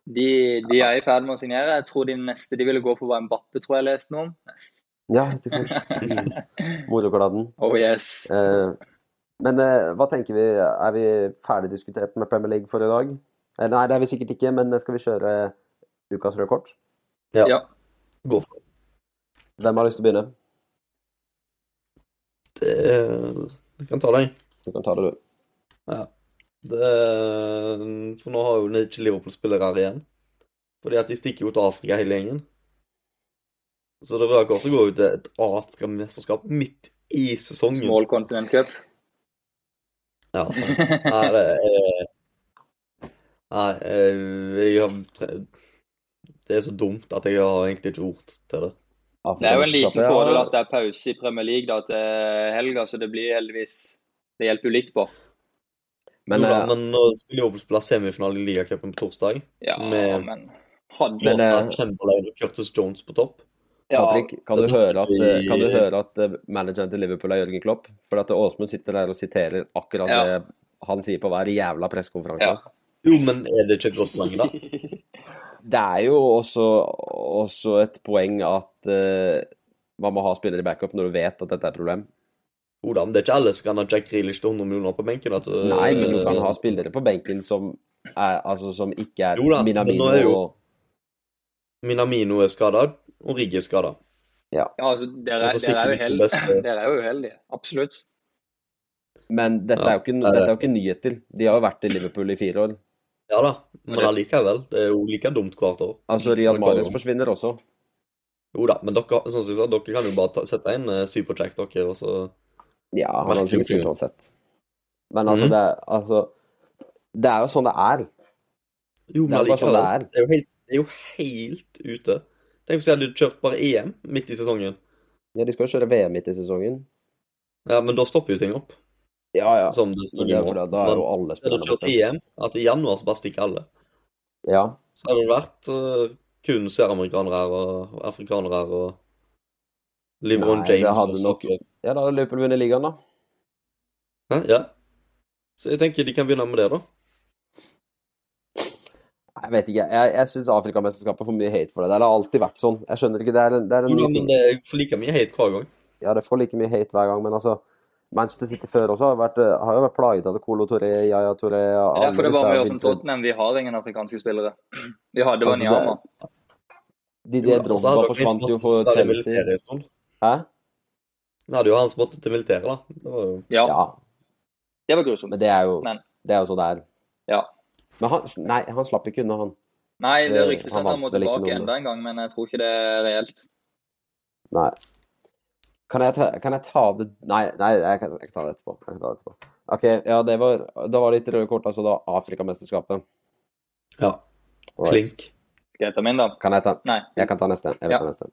S2: de, de er i ferd med å signere. Jeg tror de neste de ville gå for, var Mbappe, tror jeg jeg leste noe om.
S1: Ja, ikke sant? Morokladden.
S2: Oh yes.
S1: Eh, men eh, hva tenker vi? Er vi ferdig diskutert med Premier League for i dag? Eh, nei, det er vi sikkert ikke, men eh, skal vi kjøre ukas røde kort?
S3: Ja.
S2: Ja.
S3: Gå for det.
S1: Hvem har lyst til å begynne?
S3: Det er- Jeg kan ta deg.
S1: Du kan ta det, du.
S3: Ja. Det er- For nå har jo ikke Liverpool spillere her igjen. Fordi at de stikker jo til Afrika hele gjengen. Så det røde kortet går jo til et Afrikamesterskap midt i sesongen.
S2: Small Continent Cup.
S3: Ja, sant. Nei, det er Nei, eh, jeg har tre- Det er så dumt at jeg har egentlig ikke ord til det.
S2: Det er jo en liten
S1: Afrikamesterskapet,
S2: fordel
S1: ja.
S2: at det er pause i Premier League da, til helga, så det blir heldigvis Det hjelper jo litt på.
S1: Men
S3: jo da,
S1: eh,
S3: men nå skulle Liverpool spille semifinale i ligacupen på torsdag.
S2: Ja,
S3: Men-
S2: men hadde
S1: Men,
S3: Zlatan,
S1: eh,
S3: Chamberlain og Curtis Jones på topp.
S2: ja,
S1: Patrick, kan du
S3: det-
S1: høre at, eh, kan du høre at eh, manageren til Liverpool er Jørgen Klopp? For at Åsmund sitter der og siterer akkurat
S2: Ja.
S1: det han sier på hver jævla pressekonferanse.
S2: Ja.
S3: Jo, men er det ikke et godt poeng, da?
S1: Det er jo også, også et poeng at eh, man må ha spillere i backup når du vet at dette er et problem.
S3: Jo da, men det er ikke alle som kan ha Jack Grealish til 100 millioner på benken. At, øh,
S1: Nei, men du kan ha spillere på benken som, er, altså, som ikke er
S3: Jo da, men nå
S1: Minamino
S3: er jo-
S1: og
S3: Minamino er skada, og Rigge er skada.
S2: ja, altså, dere,
S3: Og
S2: er-
S3: så
S2: dere,
S3: stikker
S2: er
S3: vi
S2: jo
S3: til
S2: held,
S3: beste.
S2: dere er jo uheldige. Absolutt.
S1: Men dette
S3: Ja,
S1: er jo ikke,
S3: det er det.
S1: dette er jo ikke nyheter. De har jo vært i Liverpool i fire år.
S3: Ja da, men allikevel. Det er jo like dumt hvert år.
S1: Altså,
S3: Det
S1: Riyad
S3: går jo.
S1: Marius forsvinner også.
S3: Jo da, men dere, sånn som jeg sa, dere kan jo bare ta, sette inn uh, Supercheck, dere, og så
S1: Ja, han hadde
S3: Merkelig
S1: sikkert spilt
S3: fyr.
S1: uansett. Men altså,
S3: Mhm.
S1: det er altså Det er jo sånn det er.
S3: Jo, men
S1: Det er bare sånn
S3: allikevel.
S1: det er.
S3: Det er jo helt, det er jo helt ute. Tenk hvis jeg hadde kjørt bare EM midt i sesongen.
S1: Ja, de skal jo kjøre VM midt i sesongen.
S3: Ja, men da stopper jo ting opp.
S1: Ja, ja.
S3: Som det
S1: Men
S3: står
S1: det
S3: i
S1: er
S3: nå.
S1: fordi at da er jo
S3: Men
S1: alle
S3: jeg hadde
S1: spillerne
S3: kjørt
S1: borte.
S3: EM, at i januar så bare stikker alle.
S1: Ja.
S3: Så hadde det vært eh, kun søramerikanere her og afrikanere her og LeBron
S1: Nei, det
S3: James
S1: hadde
S3: og
S1: nok-
S3: sånn.
S1: ja, da har Liverpool vunnet ligaen, da.
S3: Hæ? Ja. Så jeg tenker de kan begynne med det, da.
S1: Jeg vet ikke. Jeg, jeg syns Afrikamesterskapet får mye hate for det. Det har alltid vært sånn. Jeg skjønner ikke. Det er en, det er en
S3: Jo,
S1: ny
S3: da,
S1: ting.
S3: men det er for like mye hate hver gang.
S1: Ja, det får like mye hate hver gang, men altså Manchester City før også har, vært, eh, har jo vært plaget av det. Colo Toré, Yaya Toré
S2: Det er derfor det bare må gjøre som Tottenham. Vi har ingen afrikanske spillere. Vi hadde
S1: Altså, det-
S2: Wanyama.
S1: Didier
S3: Jo da, og så
S1: Drogba
S3: hadde dere
S1: forsvant jo
S3: måttet
S1: for
S3: være i
S1: Chelsea.
S3: militæret en stund.
S1: Hæ?
S3: Nå hadde jo han som måtte til militæret, da. Det var jo
S2: Ja,
S1: Ja,
S2: det var grusomt.
S1: men det er jo,
S2: Men-
S1: det er jo sånn det er.
S2: Ja.
S1: Men han, nei, han slapp ikke unna, han.
S2: Nei, det
S1: Det-
S2: ryktes
S1: han
S2: at han må
S1: vant vel ikke
S2: tilbake
S1: noe.
S2: enda en gang, men jeg tror ikke det er reelt.
S1: Nei. Kan jeg ta, kan jeg ta det Nei, nei jeg, kan, jeg kan ta det etterpå. Jeg kan ta det etterpå. OK, ja, det var, da var det ikke røde kort, altså da Afrikamesterskapet.
S3: Ja,
S1: Alright.
S3: klink.
S2: Skal jeg ta min, da?
S1: Kan jeg ta
S2: Nei.
S1: Jeg kan ta neste. Jeg vil
S2: Ja.
S1: ta neste.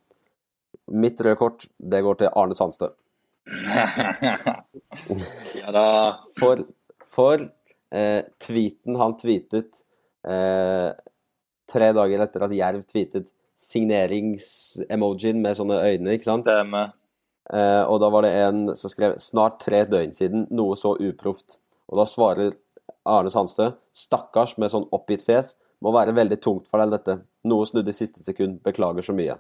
S1: Mitt røde kort, det går til Arne Sandstø.
S2: ja da.
S1: For, for eh, tweeten han tweetet eh, tre dager etter at Jerv tweetet signerings-emojien med sånne øyne, ikke sant?
S2: Stemmer.
S1: Eh, og da var det en som skrev 'snart tre døgn siden, noe så uproft'. Og da svarer Arne Sandstø 'stakkars med sånn oppgitt fjes', må være veldig tungt for deg dette. Noe snudde i siste sekund, beklager så mye.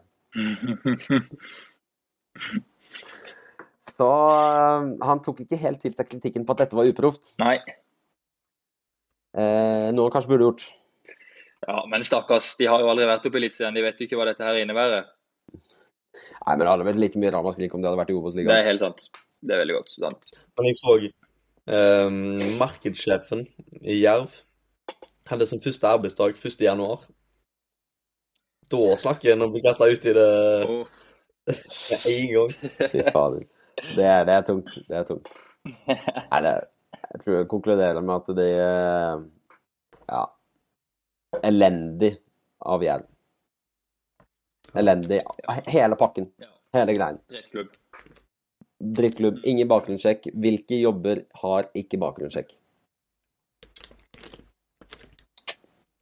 S1: Så eh, han tok ikke helt til seg kritikken på at dette var uproft.
S2: Nei.
S1: Eh, noe han kanskje burde gjort.
S2: Ja, men stakkars, de har jo aldri vært oppe i Eliteserien. De vet jo ikke hva dette her innebærer.
S1: Nei, men det hadde vært like mye ramaskrik om det hadde vært liksom. i
S2: Det
S1: Obos-ligaen.
S2: er helt sant. Det er veldig godt. sant?
S3: Men jeg så eh, markedssjefen i Jerv hadde sin første arbeidsdag 1. januar. Da snakker en og blir kasta ut i det
S2: Åh.
S3: med en gang.
S1: Fy fader. Det er, det er tungt. Det er tungt. Nei, det, jeg tror jeg konkluderer med at det er ja, elendig av Jerv. Elendig. Hele pakken.
S2: Ja.
S1: Hele greien.
S2: Drittklubb.
S1: Drittklubb, ingen bakgrunnssjekk. Hvilke jobber har ikke bakgrunnssjekk?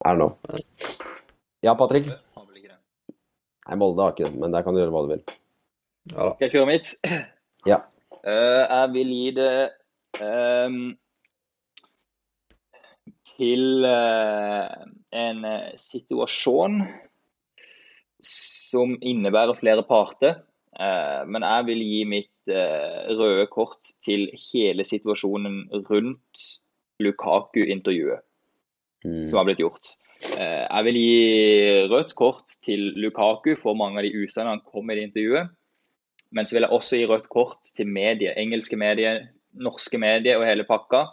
S1: Er det noe? Ja, Patrick?
S2: Har vel ikke det.
S1: Nei, Molde har ikke det, men der kan du gjøre hva du vil.
S3: Ja da.
S2: Skal jeg kjøre mitt?
S1: Ja.
S2: Eh, jeg vil gi det ehm, til eh, en eh, situasjon som innebærer flere parter. Eh, men jeg vil gi mitt eh, røde kort til hele situasjonen rundt Lukaku-intervjuet
S1: Mm.
S2: som har blitt gjort. Eh, Jeg vil gi rødt kort til Lukaku for mange av de usannene han kom med i det intervjuet. Men så vil jeg også gi rødt kort til medier, engelske medier, norske medier og hele pakka,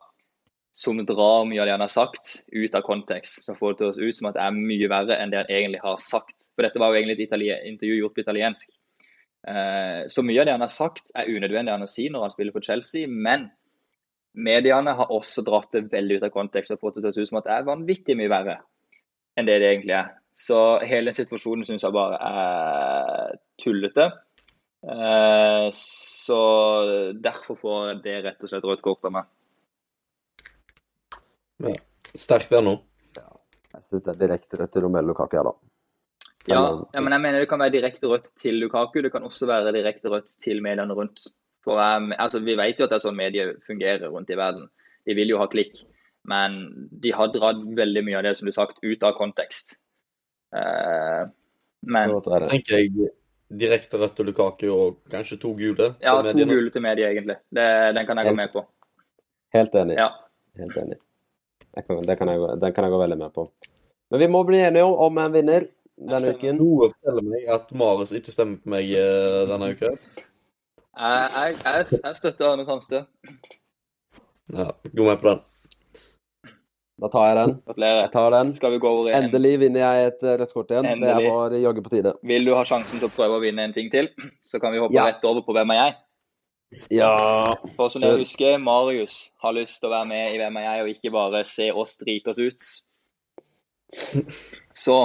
S2: som drar mye av det han har sagt, ut av kontekst. Som får det til å høres ut som at det er mye verre enn det han egentlig har sagt. For dette var jo egentlig et itali- intervju gjort på italiensk. Eh, Så mye av det han har sagt, er unødvendig han å si når han spiller for Chelsea, men mediene har også dratt det veldig ut av kontekst og fått det til å se ut som at det er vanvittig mye verre enn det det egentlig er. Så hele den situasjonen syns jeg bare er tullete. Eh, Så derfor får det rett og slett rødt kort av meg.
S3: Sterkt ennå.
S1: Jeg syns det er direkte rødt til Romelu Lukaku, ja da.
S2: Ja,
S1: Eller-
S2: ja, men jeg mener det kan være direkte rødt til Lukaku. Det kan også være direkte rødt til mediene rundt. For um, altså, Vi vet jo at det er sånn medier fungerer rundt i verden. De vil jo ha klikk. Men de har dratt veldig mye av det som du har sagt, ut av kontekst. Eh,
S1: Det
S2: men
S1: måtte være.
S3: tenker jeg direkte rødt til Lukaku og kanskje to gule. til
S2: ja, to
S3: mediene.
S2: gule til medier, egentlig. Det, den kan jeg gå med på.
S1: Helt enig.
S2: Ja.
S1: Helt enig. Jeg kan, det kan jeg, gå- den kan jeg gå veldig med på. Men vi må bli enige om, om en vinner denne
S2: Stemmer.
S1: uken.
S3: Noe forteller meg at Marius ikke stemmer på meg eh, denne uka.
S2: Jeg, jeg, jeg, jeg støtter Arne Sandstø.
S3: Ja, gå med på den.
S1: Da tar jeg den. Jeg
S2: Gratulerer.
S1: tar den.
S2: Skal vi gå over i en...
S1: Endelig vinner jeg et eh, rødt kort igjen. Det
S2: Endelig.
S1: var jaggu på tide.
S2: Vil du ha sjansen til å prøve å vinne en ting til, så kan vi hoppe
S1: Ja.
S2: rett over på hvem er jeg.
S1: Ja.
S2: For som dere
S1: Kjør.
S2: husker, Marius har lyst til å være med i Hvem er jeg, og ikke bare se oss drite oss ut. Så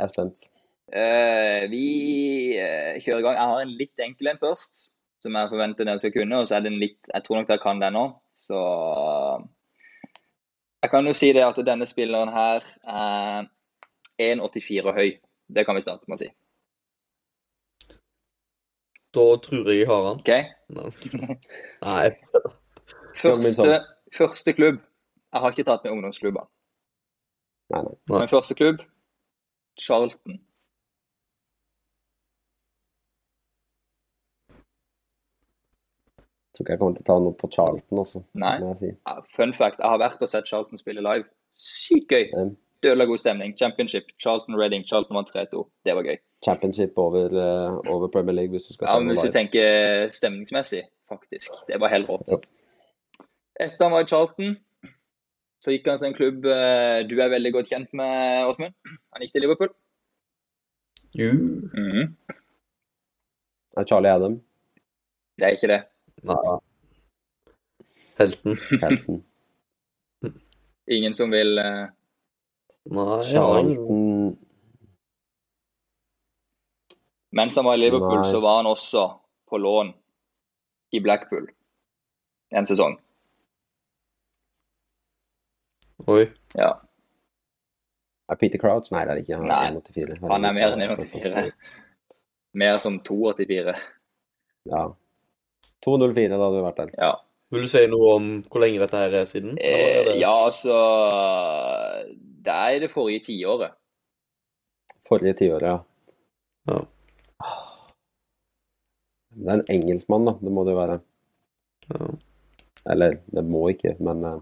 S1: Jeg er spent.
S2: eh, vi eh, kjører i gang. Jeg har en litt enkel en først, som jeg forventer dere skal kunne. Og så er det en litt Jeg tror nok dere kan den nå, så Jeg kan jo si det at denne spilleren her er 1,84 høy. Det kan vi starte med å si.
S3: Da tror jeg jeg har han.
S2: OK?
S3: Nei. Nei.
S2: Første, første klubb Jeg har ikke tatt med ungdomsklubber.
S1: Nei, nei.
S3: Nei.
S2: Men første klubb Charlton.
S1: Tror ikke jeg kommer til å ta noe på Charlton, altså.
S2: Nei.
S1: Må jeg si.
S2: Ja, Fun fact, jeg har vært og sett Charlton spille live. Sykt gøy.
S1: Um,
S2: Dødelig god stemning. Championship. Charlton Reading. Charlton vant 3-2. Det var gøy.
S1: Championship over, eh, over Premier League, hvis du skal
S2: Ja,
S1: se
S2: men
S1: noe
S2: Hvis du
S1: live.
S2: tenker stemningsmessig, faktisk. Det var helt rått.
S1: Ja.
S2: Etter han var i Charlton, Så gikk han til en klubb eh, du er veldig godt kjent med, Åsmund. Han gikk til Liverpool.
S3: Ju.
S2: Mhm.
S1: Det er Charlie Adam.
S2: Det er ikke det.
S3: Nei. Helten.
S1: Helten.
S2: Ingen som vil eh,
S3: Nei, jeg har ingen.
S1: Charlton
S2: Mens han var i Liverpool,
S1: Nei.
S2: så var han også på lån i Blackpool en sesong.
S3: Oi.
S2: Ja.
S1: Er Peter Crouch? Nei, det er det ikke. Han
S2: Nei.
S1: er 1,84.
S2: Han er mer enn 1,84. Mer som 2,84.
S1: Ja. 2,04 da hadde du vært der.
S2: Ja.
S3: Vil du si noe om hvor lenge dette her er siden? Eller er
S2: Eh,
S3: det-
S2: ja, altså Det er i det forrige tiåret.
S1: Forrige tiåret, ja.
S3: Ja.
S1: Det er en engelskmann, da. Det må det jo være.
S3: Ja.
S1: Eller, det må ikke, men eh,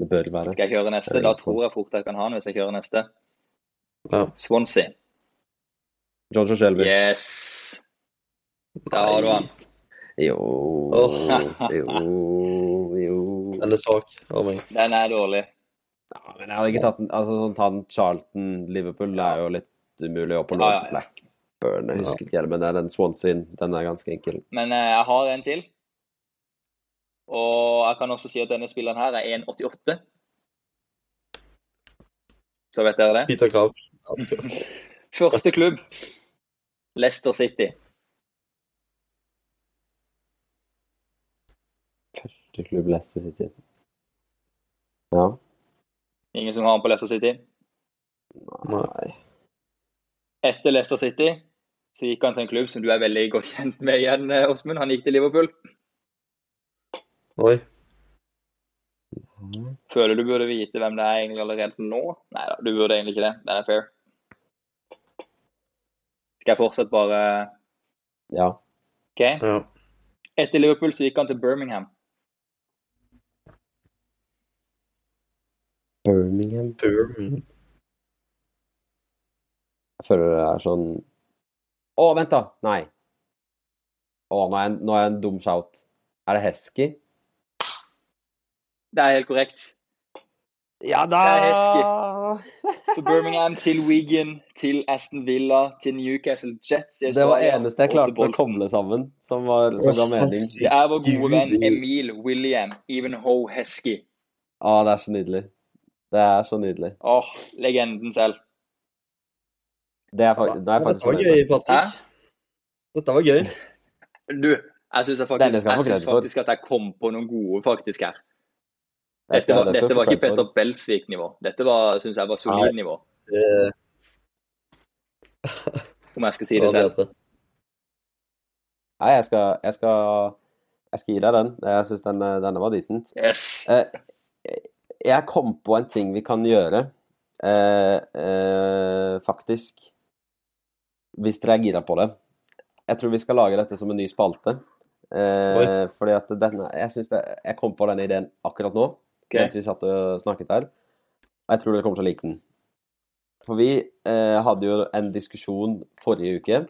S1: det bør være.
S2: Skal jeg kjøre neste? Da tror jeg fort jeg kan ha den hvis jeg kjører neste.
S3: Ja.
S2: Swansea.
S1: Joshua Shelby.
S2: Yes! Der har du han.
S1: Jo,
S2: Åh.
S1: jo, jo.
S3: Den er svak av meg.
S2: Den er dårlig.
S1: Ja, men jeg hadde ikke tatt den Altså, sånn ta den Charlton-Liverpool, det er jo litt umulig å på lov
S2: Ja,
S1: til
S2: ja, ja.
S1: Blackburn. Jeg husker ikke helt, men det er den Swansea, den er ganske enkel.
S2: Men eh, jeg har en til. Og jeg kan også si at denne spilleren her er 1,88. Så vet dere det.
S3: Peter Crouch.
S2: Første klubb, Leicester City.
S1: Første klubb Leicester City. Ja.
S2: Ingen som har han på Leicester City.
S1: Nei.
S2: Etter Leicester City så gikk han til en klubb som du er veldig godt kjent med igjen, eh, Åsmund. Han gikk til Liverpool.
S3: Oi.
S2: Føler du burde vite hvem det er egentlig allerede nå? Nei da, du burde egentlig ikke det. Den er fair. Skal jeg fortsatt bare
S1: Ja.
S2: OK.
S3: Ja.
S2: Etter Liverpool så gikk han til Birmingham.
S1: Birmingham.
S3: Burn.
S1: Jeg føler det er sånn Å, vent, da! Nei. Å, nå er jeg, nå er jeg en dum shout. Er det Hesky?
S2: Det er helt korrekt.
S1: Ja da!
S2: Det er Så Birmingham til Wigan, til Aston Villa, til Newcastle Jets. i
S1: Det var
S2: Australia,
S1: eneste jeg
S2: og til
S1: klarte å
S2: Bolton.
S1: koble sammen, som, var, som ga mening.
S2: Det er vår gode venn
S3: Gud, det-
S2: Emil William Evenhoe Heskey.
S1: Å, det er så nydelig. Det er så nydelig.
S2: Åh, legenden selv.
S1: Det er, fak- det er
S3: Dette
S1: faktisk
S3: var gøy, Patrick.
S2: Hæ?
S3: Dette var gøy.
S2: Du, jeg syns
S1: Denne
S2: faktisk,
S1: skal han få
S2: jeg synes
S1: kred for.
S2: faktisk at jeg kom på noen gode faktisk her.
S1: Jeg
S2: Dette
S1: skal-
S2: var,
S1: dette
S2: dette var
S1: får
S2: ikke
S1: jeg for.
S2: Petter Belsvik-nivå. Dette var, syns jeg var solid nivå,
S3: Eh,
S2: om jeg skal si
S3: Det
S2: det
S3: var
S2: selv.
S3: bedre.
S1: Nei, jeg skal, jeg skal Jeg skal gi deg den. Jeg syns den, eh, denne var decent.
S2: Yes.
S1: Eh, jeg kom på en ting vi kan gjøre, eh, eh, faktisk. Hvis dere er gira på det. Jeg tror vi skal lage dette som en ny spalte. Eh, fordi at denne jeg, synes det, jeg kom på denne ideen akkurat nå,
S2: Ok.
S1: mens vi satt og snakket der. Og jeg tror dere kommer til å like den. For vi eh, hadde jo en diskusjon forrige uke.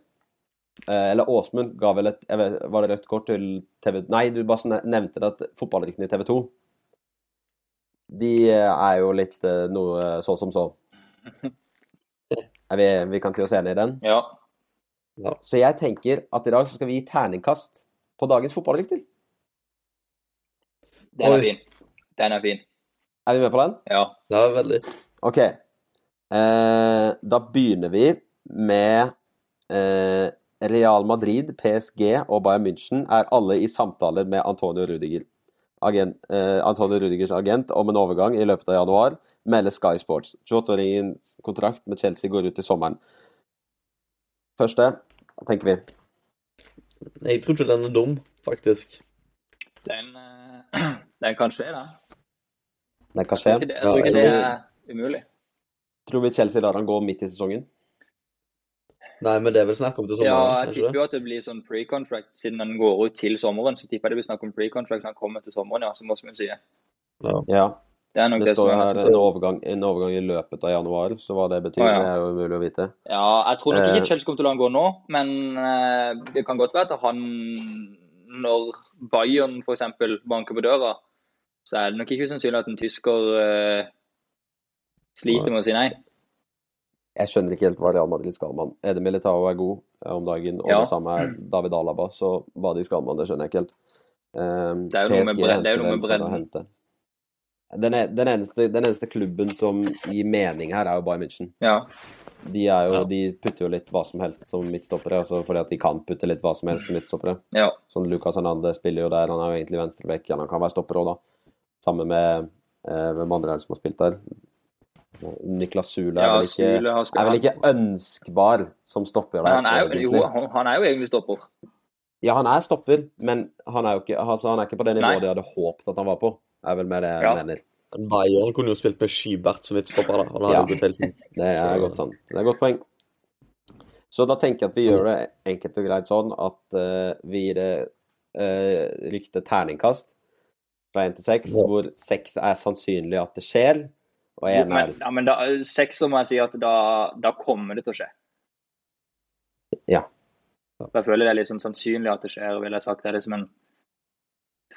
S1: Eh, eller Åsmund ga vel et jeg vet, Var det rødt kort til TV Nei, du bare sne- nevnte det at fotballryktene i TV 2 De eh, er jo litt eh, noe eh, så som så. Er vi, vi kan si oss enige i den.
S2: Ja.
S1: Så jeg tenker at i dag så skal vi gi terningkast på dagens fotballrykter.
S2: Den
S3: Oi.
S2: er fin. Den er fin.
S1: Er vi med på den?
S2: Ja.
S3: Ja, veldig.
S1: OK. Eh, da begynner vi med eh, Real Madrid, PSG og Bayern München er alle i samtaler med Antonio Rudiger. Agent, eh, Antonio Rudigers agent om en overgang i løpet av januar, melder Sky Sports. 28-åringens kontrakt med Chelsea går ut i sommeren. Første, hva tenker vi?
S3: Jeg tror ikke den er dum, faktisk.
S2: Den, eh, den kan skje, den.
S1: Den kan skje.
S2: Jeg tror ikke det, jeg tror ikke
S3: Ja,
S2: det
S3: jeg
S2: er umulig.
S1: Tror vi Chelsea lar han gå midt i sesongen?
S3: Nei, men det er vel snakk om til
S2: Ja,
S3: sommeren?
S2: jeg
S3: ikke
S2: tipper
S3: det?
S2: jo at det blir sånn pre-contract. Siden den går ut til sommeren, så tipper jeg det blir snakk om pre-contract når den kommer til sommeren, ja, som Åsmund sier.
S3: Ja.
S1: Ja.
S2: Det er nok
S1: Det
S2: det,
S1: står
S2: som er
S1: her en overgang, en overgang i løpet av januar, så hva det betyr,
S2: Å, ja.
S1: det er jo umulig å vite.
S2: Ja, jeg tror nok
S1: Eh.
S2: ikke Chelsea kommer til å la han gå nå, men eh, det kan godt være at han, når Bayern f.eks. banker på døra, så er det nok ikke usannsynlig at en tysker eh, sliter med å si nei.
S1: Jeg skjønner ikke helt hva Real Madrid skal med han. Ede Militao er god eh, om dagen, og
S2: Ja.
S1: det samme er David Alaba, så hva de skal med han, det skjønner jeg ikke helt. Um,
S2: Det er jo noe med
S1: PSG
S2: bred- det er
S1: henter
S2: jo noe med
S1: dem for å
S2: bredden.
S1: hente. Den, e- den, eneste, den eneste klubben som gir mening her, er jo Bayern München.
S2: Ja.
S1: De, er jo,
S3: Ja.
S1: de putter jo litt hva som helst som midtstoppere, altså fordi at de kan putte litt hva som helst som midtstoppere.
S2: ja.
S1: Sånn Lucas Hernandez spiller jo der, han er jo egentlig venstrebekk, ja, han kan være stopper òg, da. Sammen med eh, hvem andre er det som har spilt der? Niklas Sule er
S2: ja
S1: vel ikke
S2: Sule har
S1: er vel
S2: spilt
S1: ikke ønskbar som stopper der,
S2: han er, jo,
S1: egentlig.
S2: jo, han- han er jo egentlig stopper.
S1: Ja, han er stopper, men han er jo ikke, altså, han er ikke på det nivået
S2: Nei.
S1: de hadde håpet at han var på. Er vel mer det jeg
S2: Ja.
S1: mener.
S3: Men Bayern kunne jo spilt med Skybert som midtstopper, da. Og det hadde
S1: Ja.
S3: jo gått helt fint.
S1: Det er
S3: Så-
S1: godt sant. Det er et godt poeng. Så da tenker jeg at vi gjør det enkelt og greit sånn at eh, vi gir det eh, ryktet terningkast fra én til seks,
S3: Ja.
S1: hvor seks er sannsynlig at det skjer, og én
S2: Men,
S1: er
S2: ja, men da, seks, så må jeg si at da, da kommer det til å skje.
S1: Ja.
S2: For Jeg føler det er litt sånn sannsynlig at det skjer, ville jeg sagt. Det er liksom en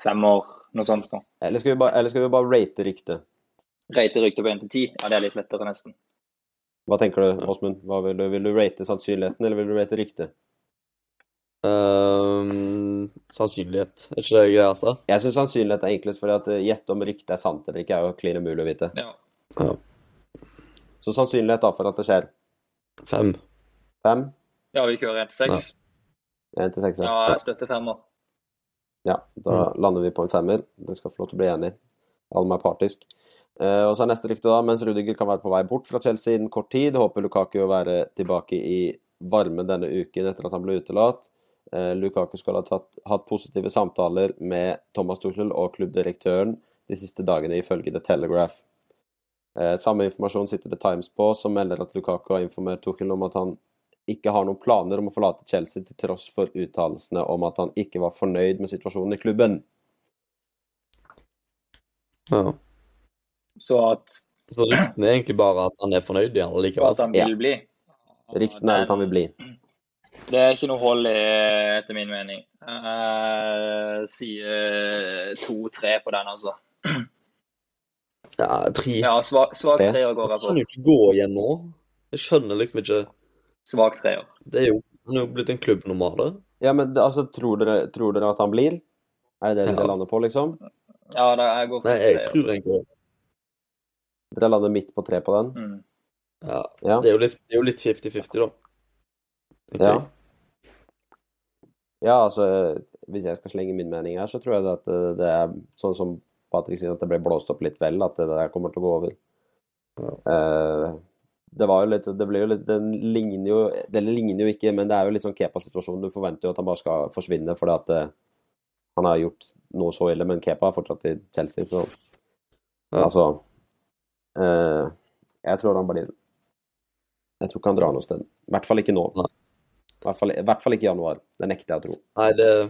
S2: femmer, noe sånt. nå.
S1: Eller skal vi bare, eller skal vi bare rate ryktet?
S2: Rate ryktet på 1 til 10. Ja, det er litt lettere, nesten.
S1: Hva tenker du, Åsmund? Hva Vil, du- vil du rate sannsynligheten, eller vil du rate ryktet?
S3: Ehm, sannsynlighet. Er ikke det altså? greia, da?
S1: Jeg syns sannsynlighet er enklest, for gjette om ryktet er sant eller ikke er jo klin umulig å vite.
S2: Ja.
S1: Så sannsynlighet da for at det skjer.
S3: Fem.
S1: Fem?
S2: Ja, vi kjører 1 til 6.
S1: Én til seks, ja.
S2: Ja, jeg støtter femmer.
S1: Ja, da lander vi på en femmer. Dere skal få lov til å bli enige. Alma er partisk. Eh, og så er neste rykte, da. Mens Rudiger kan være på vei bort fra Chelsea innen kort tid, håper Lukaku å være tilbake i varmen denne uken etter at han ble utelatt. Eh, Lukaku skal ha tatt, hatt positive samtaler med Thomas Tuchel og klubbdirektøren de siste dagene, ifølge The Telegraph. Eh, samme informasjon sitter The Times på, som melder at Lukaku har informert Tuchel om at han ikke har noen planer om å forlate Chelsea til tross for uttalelsene om at han ikke var fornøyd med situasjonen i klubben.
S3: Ja.
S2: Så at,
S3: Så ryktene er egentlig bare at han er fornøyd igjen
S2: og
S3: likevel.
S2: at han vil bli.
S1: Ryktene er at han vil bli.
S2: Det er ikke noe hold i, etter min mening. Jeg sier eh, to-tre på den, altså.
S3: Ja, tre.
S2: Ja, svak, svak
S1: Tre.
S2: treer
S3: Han
S2: går jeg på.
S3: kan jo ikke gå igjen nå. Jeg skjønner liksom ikke
S2: Svak treer.
S3: Det er jo, han er jo blitt en klubbnormal. det.
S1: Ja, men altså, tror dere, tror dere at han blir? Er det det dere
S3: Ja.
S1: lander på, liksom?
S2: Ja, da, jeg går for
S3: Nei, jeg
S2: treer.
S3: tror egentlig
S1: Dere lander midt på tre på den?
S2: Mm.
S3: ja,
S1: Ja.
S3: Det er jo litt det er jo litt 50-50, da. Tenker
S1: Ja.
S3: jeg.
S1: Ja, altså, hvis jeg skal slenge min mening her, så tror jeg det at eh, det er sånn som Patrick sier, at det ble blåst opp litt vel, at det der kommer til å gå over. Eh, det var jo litt, det ble jo litt, den ligner jo, det ligner jo ikke, men det er jo litt sånn Kepa-situasjon. Du forventer jo at han bare skal forsvinne fordi at eh, han har gjort noe så ille, men Kepa er fortsatt i Chelsea, så
S3: Ja.
S1: altså eh, Jeg tror han blir Jeg tror ikke han drar noe sted. I hvert fall ikke nå.
S3: Nei.
S1: I hvert fall, I hvert fall ikke i januar. Det nekter jeg å tro.
S3: Nei, det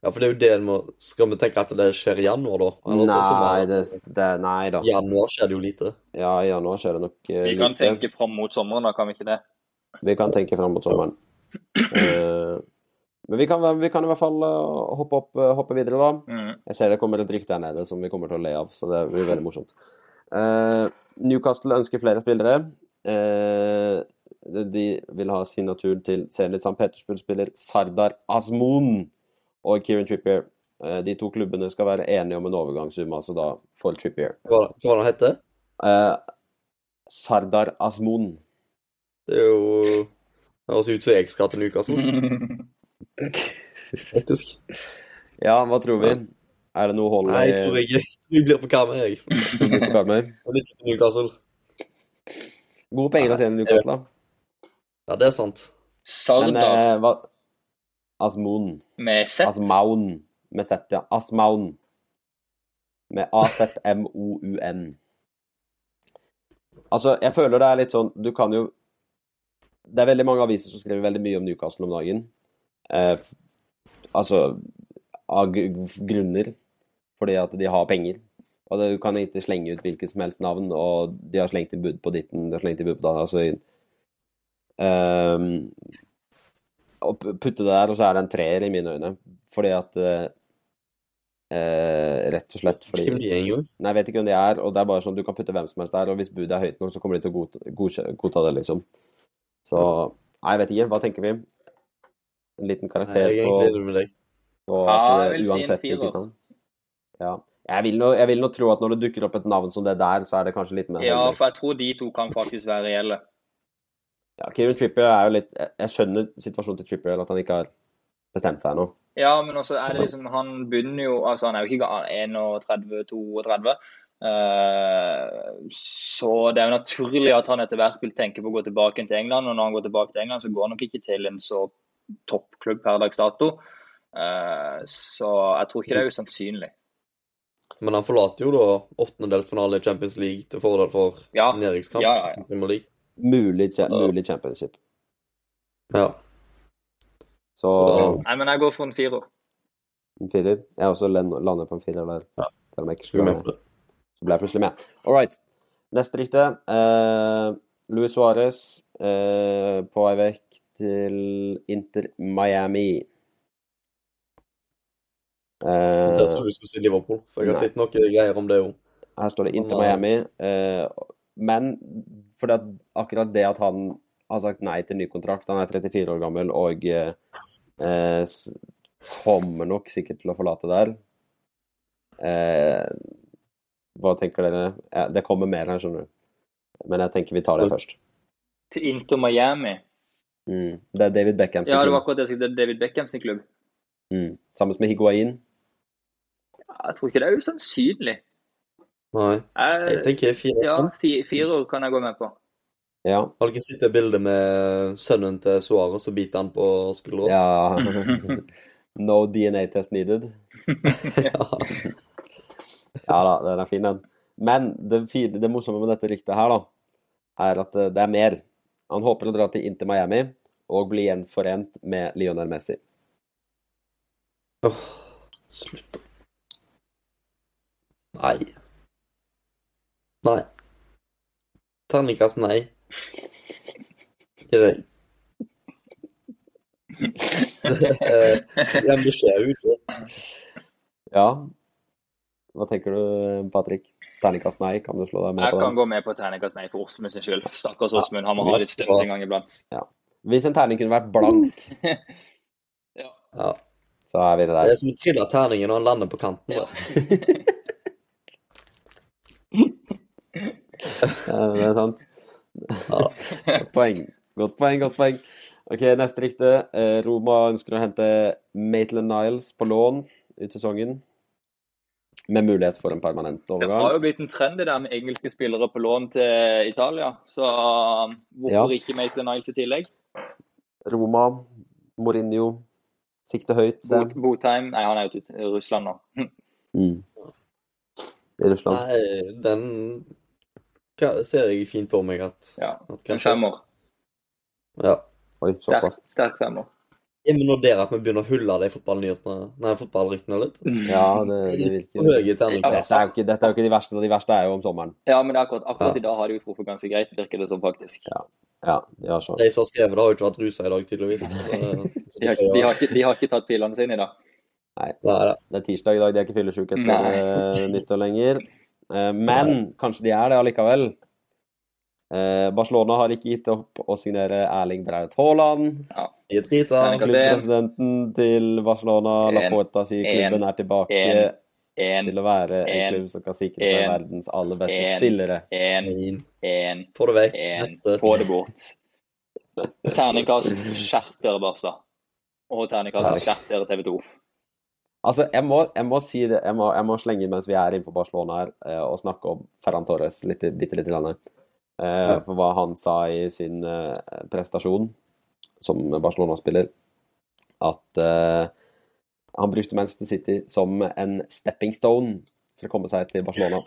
S3: Ja, for det er jo det en må Skal vi tenke at det skjer i januar, da? Eller til
S1: Nei,
S3: sommeren?
S1: det, det, nei da.
S3: I januar skjer det jo lite.
S1: Ja, i januar skjer det nok eh,
S2: Vi kan
S1: lite.
S2: tenke fram mot sommeren, da kan vi ikke det?
S1: Vi kan tenke fram mot sommeren. Eh, men vi kan, være- vi kan i hvert fall eh, hoppe, opp, eh, hoppe videre, da.
S2: Mm.
S1: Jeg ser det kommer et rykte her nede som vi kommer til å le av, så det blir veldig morsomt. Eh, Newcastle ønsker flere spillere. Eh, de vil ha signatur til Zenit St. Petersburg-spiller Sardar Azmoun og Kieran Trippier. Eh, de to klubbene skal være enige om en overgangssum, altså da for Trippier.
S3: Hva, hva var det han heter?
S1: Eh, Sardar Azmoun.
S3: Det er jo Det høres ut som jeg skal til
S1: Mm.
S3: Newcastle, faktisk.
S1: Ja, hva tror vi? Er det noe hold
S3: Nei, jeg tror jeg, jeg tror jeg blir på Karmøy, jeg.
S1: på Karmøy?
S3: Jeg vil ikke til Newcastle.
S1: Gode penger å tjene i Newcastle, da.
S3: Ja, det er sant.
S1: Men eh,
S2: Sardar
S1: altså, hva Asmoun.
S2: med Z.
S1: Asmaun. Med Z, ja. Asmaun. Med A-Z-M-O-U-N. Altså, jeg føler det er litt sånn Du kan jo Det er veldig mange aviser som skriver veldig mye om Newcastle om dagen. Eh, f- altså av gr- grunner. Fordi at de har penger. Og det, du kan ikke slenge ut hvilket som helst navn, og de har slengt i bud på ditten, de har slengt i bud på datten altså, Ehm, Å pu- putte det der, og så er det en treer i mine øyne. Fordi at eh, Eh, rett og slett fordi
S3: Hvem de er engang?
S1: Nei, jeg vet ikke hvem de er, og det er bare sånn du kan putte hvem som helst der, og hvis budet er høyt nok, så kommer de til å godta, godkje- godta det, liksom. Så Nei, jeg vet ikke. Hva tenker vi? En liten
S3: Nei, Jeg
S1: karakter
S3: er
S1: på,
S3: egentlig enig med deg.
S1: på
S2: Ja,
S1: at
S2: jeg
S1: det,
S2: vil si en
S1: uansett
S2: firer.
S1: hvilket navn. Ja. Jeg vil, nå, jeg vil nå tro at når det dukker opp et navn som det der, så er det kanskje litt mer
S2: Ja,
S1: høyere.
S2: for jeg tror de to kan faktisk være reelle.
S1: Ja, Kieran Trippier er jo litt Jeg jeg skjønner situasjonen til Trippier, at han ikke har bestemt seg ennå.
S2: Ja, men også er det liksom Han begynner jo Altså, han er jo ikke gal- 31-32. Eh, så det er jo naturlig at han etter hvert vil tenke på å gå tilbake til England. Og når han går tilbake til England, så går han nok ikke til en så toppklubb per dags dato. Eh, så jeg tror ikke det er usannsynlig.
S3: Men han forlater jo da åttendedelsfinale i Champions League til fordel for
S2: Ja,
S3: nedrykkskamp
S2: ja, ja.
S3: i Premier League.
S1: Mulig, cha-
S3: Ja.
S1: mulig championship.
S3: Ja.
S1: Så
S3: Så da-
S2: Nei, men jeg går for en firer.
S1: en firer. Jeg er også len- lander på en firer der.
S3: Ja.
S1: Selv om jeg ikke
S3: Skal
S1: skulle være
S3: vi med
S1: med.
S3: på det?
S1: Så ble jeg plutselig med. All right. Neste rykte. Eh, Luis Suárez eh, på vei vekk til Inter Miami.
S3: Jeg
S1: Eh,
S3: trodde du skulle si Liverpool, for jeg har
S1: Nei.
S3: sett noen greier om det òg.
S1: her står det Inter
S3: Han var-
S1: Miami. Eh, men fordi at akkurat det at han har sagt nei til ny kontrakt Han er 34 år gammel og eh, eh, s- kommer nok sikkert til å forlate der. Eh, hva tenker dere? Ja, det kommer mer her, skjønner du. Men jeg tenker vi tar det først.
S2: Til Inter Miami.
S1: Mm. Det er David Beckham sin
S2: Ja, det var
S1: klubb.
S2: akkurat det jeg skulle Det er David Beckham sin klubb.
S1: Mm. Sammen med Higuain.
S2: Jeg tror ikke det er usannsynlig.
S3: Nei. Jeg
S2: Jeg,
S3: tenker fire
S2: ja,
S3: fem.
S2: fi- firer kan jeg gå med på.
S1: Ja.
S3: Har dere sett det bildet med sønnen til Suárez og biter han på skuldra?
S1: ja. no DNA-test needed.
S3: Ja.
S1: Ja da, den er fin, den. Men det, fine, det morsomme med dette ryktet her, da, er at eh, det er mer. Han håper å dra til Inter Miami og bli gjenforent med Lionel Messi.
S3: Åh, slutt. da. Nei. Nei. Terningkast nei. Ikke det. Eh, Ja, men det skjer jo ikke.
S1: Ja. Hva tenker du, Patrick? Terningkast nei, kan du slå deg med
S2: Jeg
S1: på
S2: kan
S1: den?
S2: gå med på terningkast nei for Åsmund sin skyld. Stakkars Åsmund, han må ha litt støtte en gang iblant.
S1: Hvis en terning kunne vært
S2: Mm.
S1: blank,
S3: Ja,
S1: så er vi det
S3: det
S1: der.
S3: er som å trille terningen når han lander på kanten.
S2: Ja.
S3: da.
S1: Ja, Eh, Det er sant.
S3: Ja.
S1: Godt poeng. Godt poeng, godt poeng. Ok, neste rykte. Eh, Roma ønsker å hente Maitland Niles på lån ut sesongen. Med mulighet for en permanent
S2: Det
S1: overgang.
S2: har jo blitt en trend det der med engelske spillere på lån til Italia, så um, hvorfor ikke Maitland Niles i tillegg?
S1: Roma, Mourinho, sikte høyt.
S2: Bo-
S1: Sam.
S2: Botheim Nei, han er jo til Russland nå. Hm,
S1: Mm. I Russland.
S3: Nei, den ka- ser jeg fint for meg at,
S2: Ja,
S3: at
S2: En
S3: kanskje
S2: femmer.
S3: Ja.
S1: Oi, såpass.
S2: Sterk, sterk femmer.
S3: Er vi nå der at vi begynner å hulle de fotballnyhetene Nei, fotballryktene litt?
S1: Ja, det, det
S3: For
S1: virker.
S3: høye terningkast.
S1: Dette er, jo ikke, dette er jo ikke de verste. De verste er jo om sommeren.
S2: Ja, men det er akkurat,
S3: Ja.
S2: akkurat i dag har de jo truffet ganske greit, virker det som, faktisk.
S1: Ja, de har sånn.
S3: De som har skrevet det, har jo ikke vært rusa i dag, tydeligvis. Så, så
S2: De har, ikke- de har, ikke, de har ikke tatt pilene sine i dag.
S3: Nei, da.
S1: Det er tirsdag i dag, de er ikke fyllesyke etter
S2: Nei.
S1: eh, nyttår lenger. Eh, men kanskje de er det allikevel. Eh, Barcelona har ikke gitt opp å signere Erling Braut Haaland.
S3: De er drita.
S2: Terningkast én.
S1: Klubbpresidenten til Barcelona, La
S2: En.
S1: Porta, sier klubben er tilbake
S2: En. En,
S1: til å være en
S2: En.
S1: klubb som kan sikre seg
S2: En.
S1: verdens aller beste
S2: En.
S1: spillere.
S2: en,
S3: Nei,
S2: en,
S3: Få det vekk.
S2: en.
S3: Neste.
S2: Få det bort. Terningkast skjerter, Barca. Og terningkast skjerter TV 2.
S1: Altså, jeg må, jeg må si det, jeg må, jeg må slenge inn mens vi er inne på Barcelona her, eh, og snakke om Ferran Torres litt, bitte lite grann. Eh,
S3: Ja.
S1: For hva han sa i sin eh, prestasjon som Barcelona-spiller, at eh, han brukte Manchester City som en stepping stone for å komme seg til Barcelona.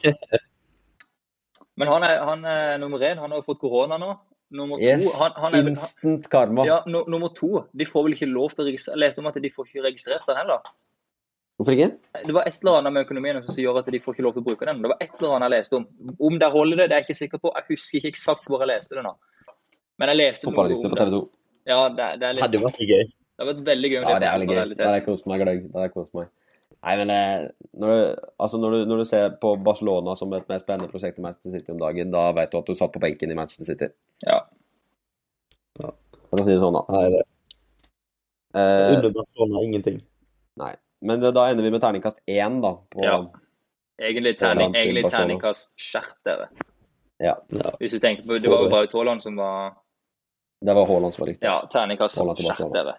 S2: Men han er, han er nummer én. Han har jo fått korona nå. Nummer to
S1: Yes,
S2: han, han er, han,
S1: instant karma.
S2: ja, nu- nummer to. De får vel ikke lov til å registrere Jeg leste om at de får ikke registrert den heller.
S1: Hvorfor ikke?
S2: Det var et eller annet med økonomien som gjør at de får ikke lov til å bruke den. Det var et eller annet jeg leste om. Om der holder det, det er jeg ikke sikker på. Jeg husker ikke eksakt hvor jeg leste det nå. Men jeg leste noe om
S1: Fotballryktene på
S2: det.
S1: TV 2.
S2: Ja, det, det, er
S3: Det
S2: litt,
S3: hadde jo vært litt gøy.
S2: det har vært veldig gøy. om
S1: Ja, det
S2: er
S1: er veldig gøy.
S2: realitet.
S1: Der har jeg kost meg gløgg. Der har jeg kost meg. Nei, men eh, når du, altså når, du, når du ser på Barcelona som et mer spennende prosjekt i Manchester City om dagen, da vet du at du satt på benken i Manchester City.
S2: Ja.
S3: Ja.
S1: For å si det sånn, da.
S3: Nei, det
S1: Eh,
S3: Under Barcelona ingenting.
S1: men det, da ender vi med terningkast én, da. På,
S2: Ja. Egentlig terning,
S1: Ja, til
S2: egentlig
S1: Barcelona.
S2: terningkast skjerp dere.
S1: Ja.
S3: Ja.
S2: Hvis du tenker på
S3: Få
S2: Det var jo
S3: det.
S2: bare Tåland som var
S1: Det var Haaland som var riktig.
S2: Ja, terningkast
S1: Haaland til
S2: skjerp
S1: Barcelona.
S2: dere.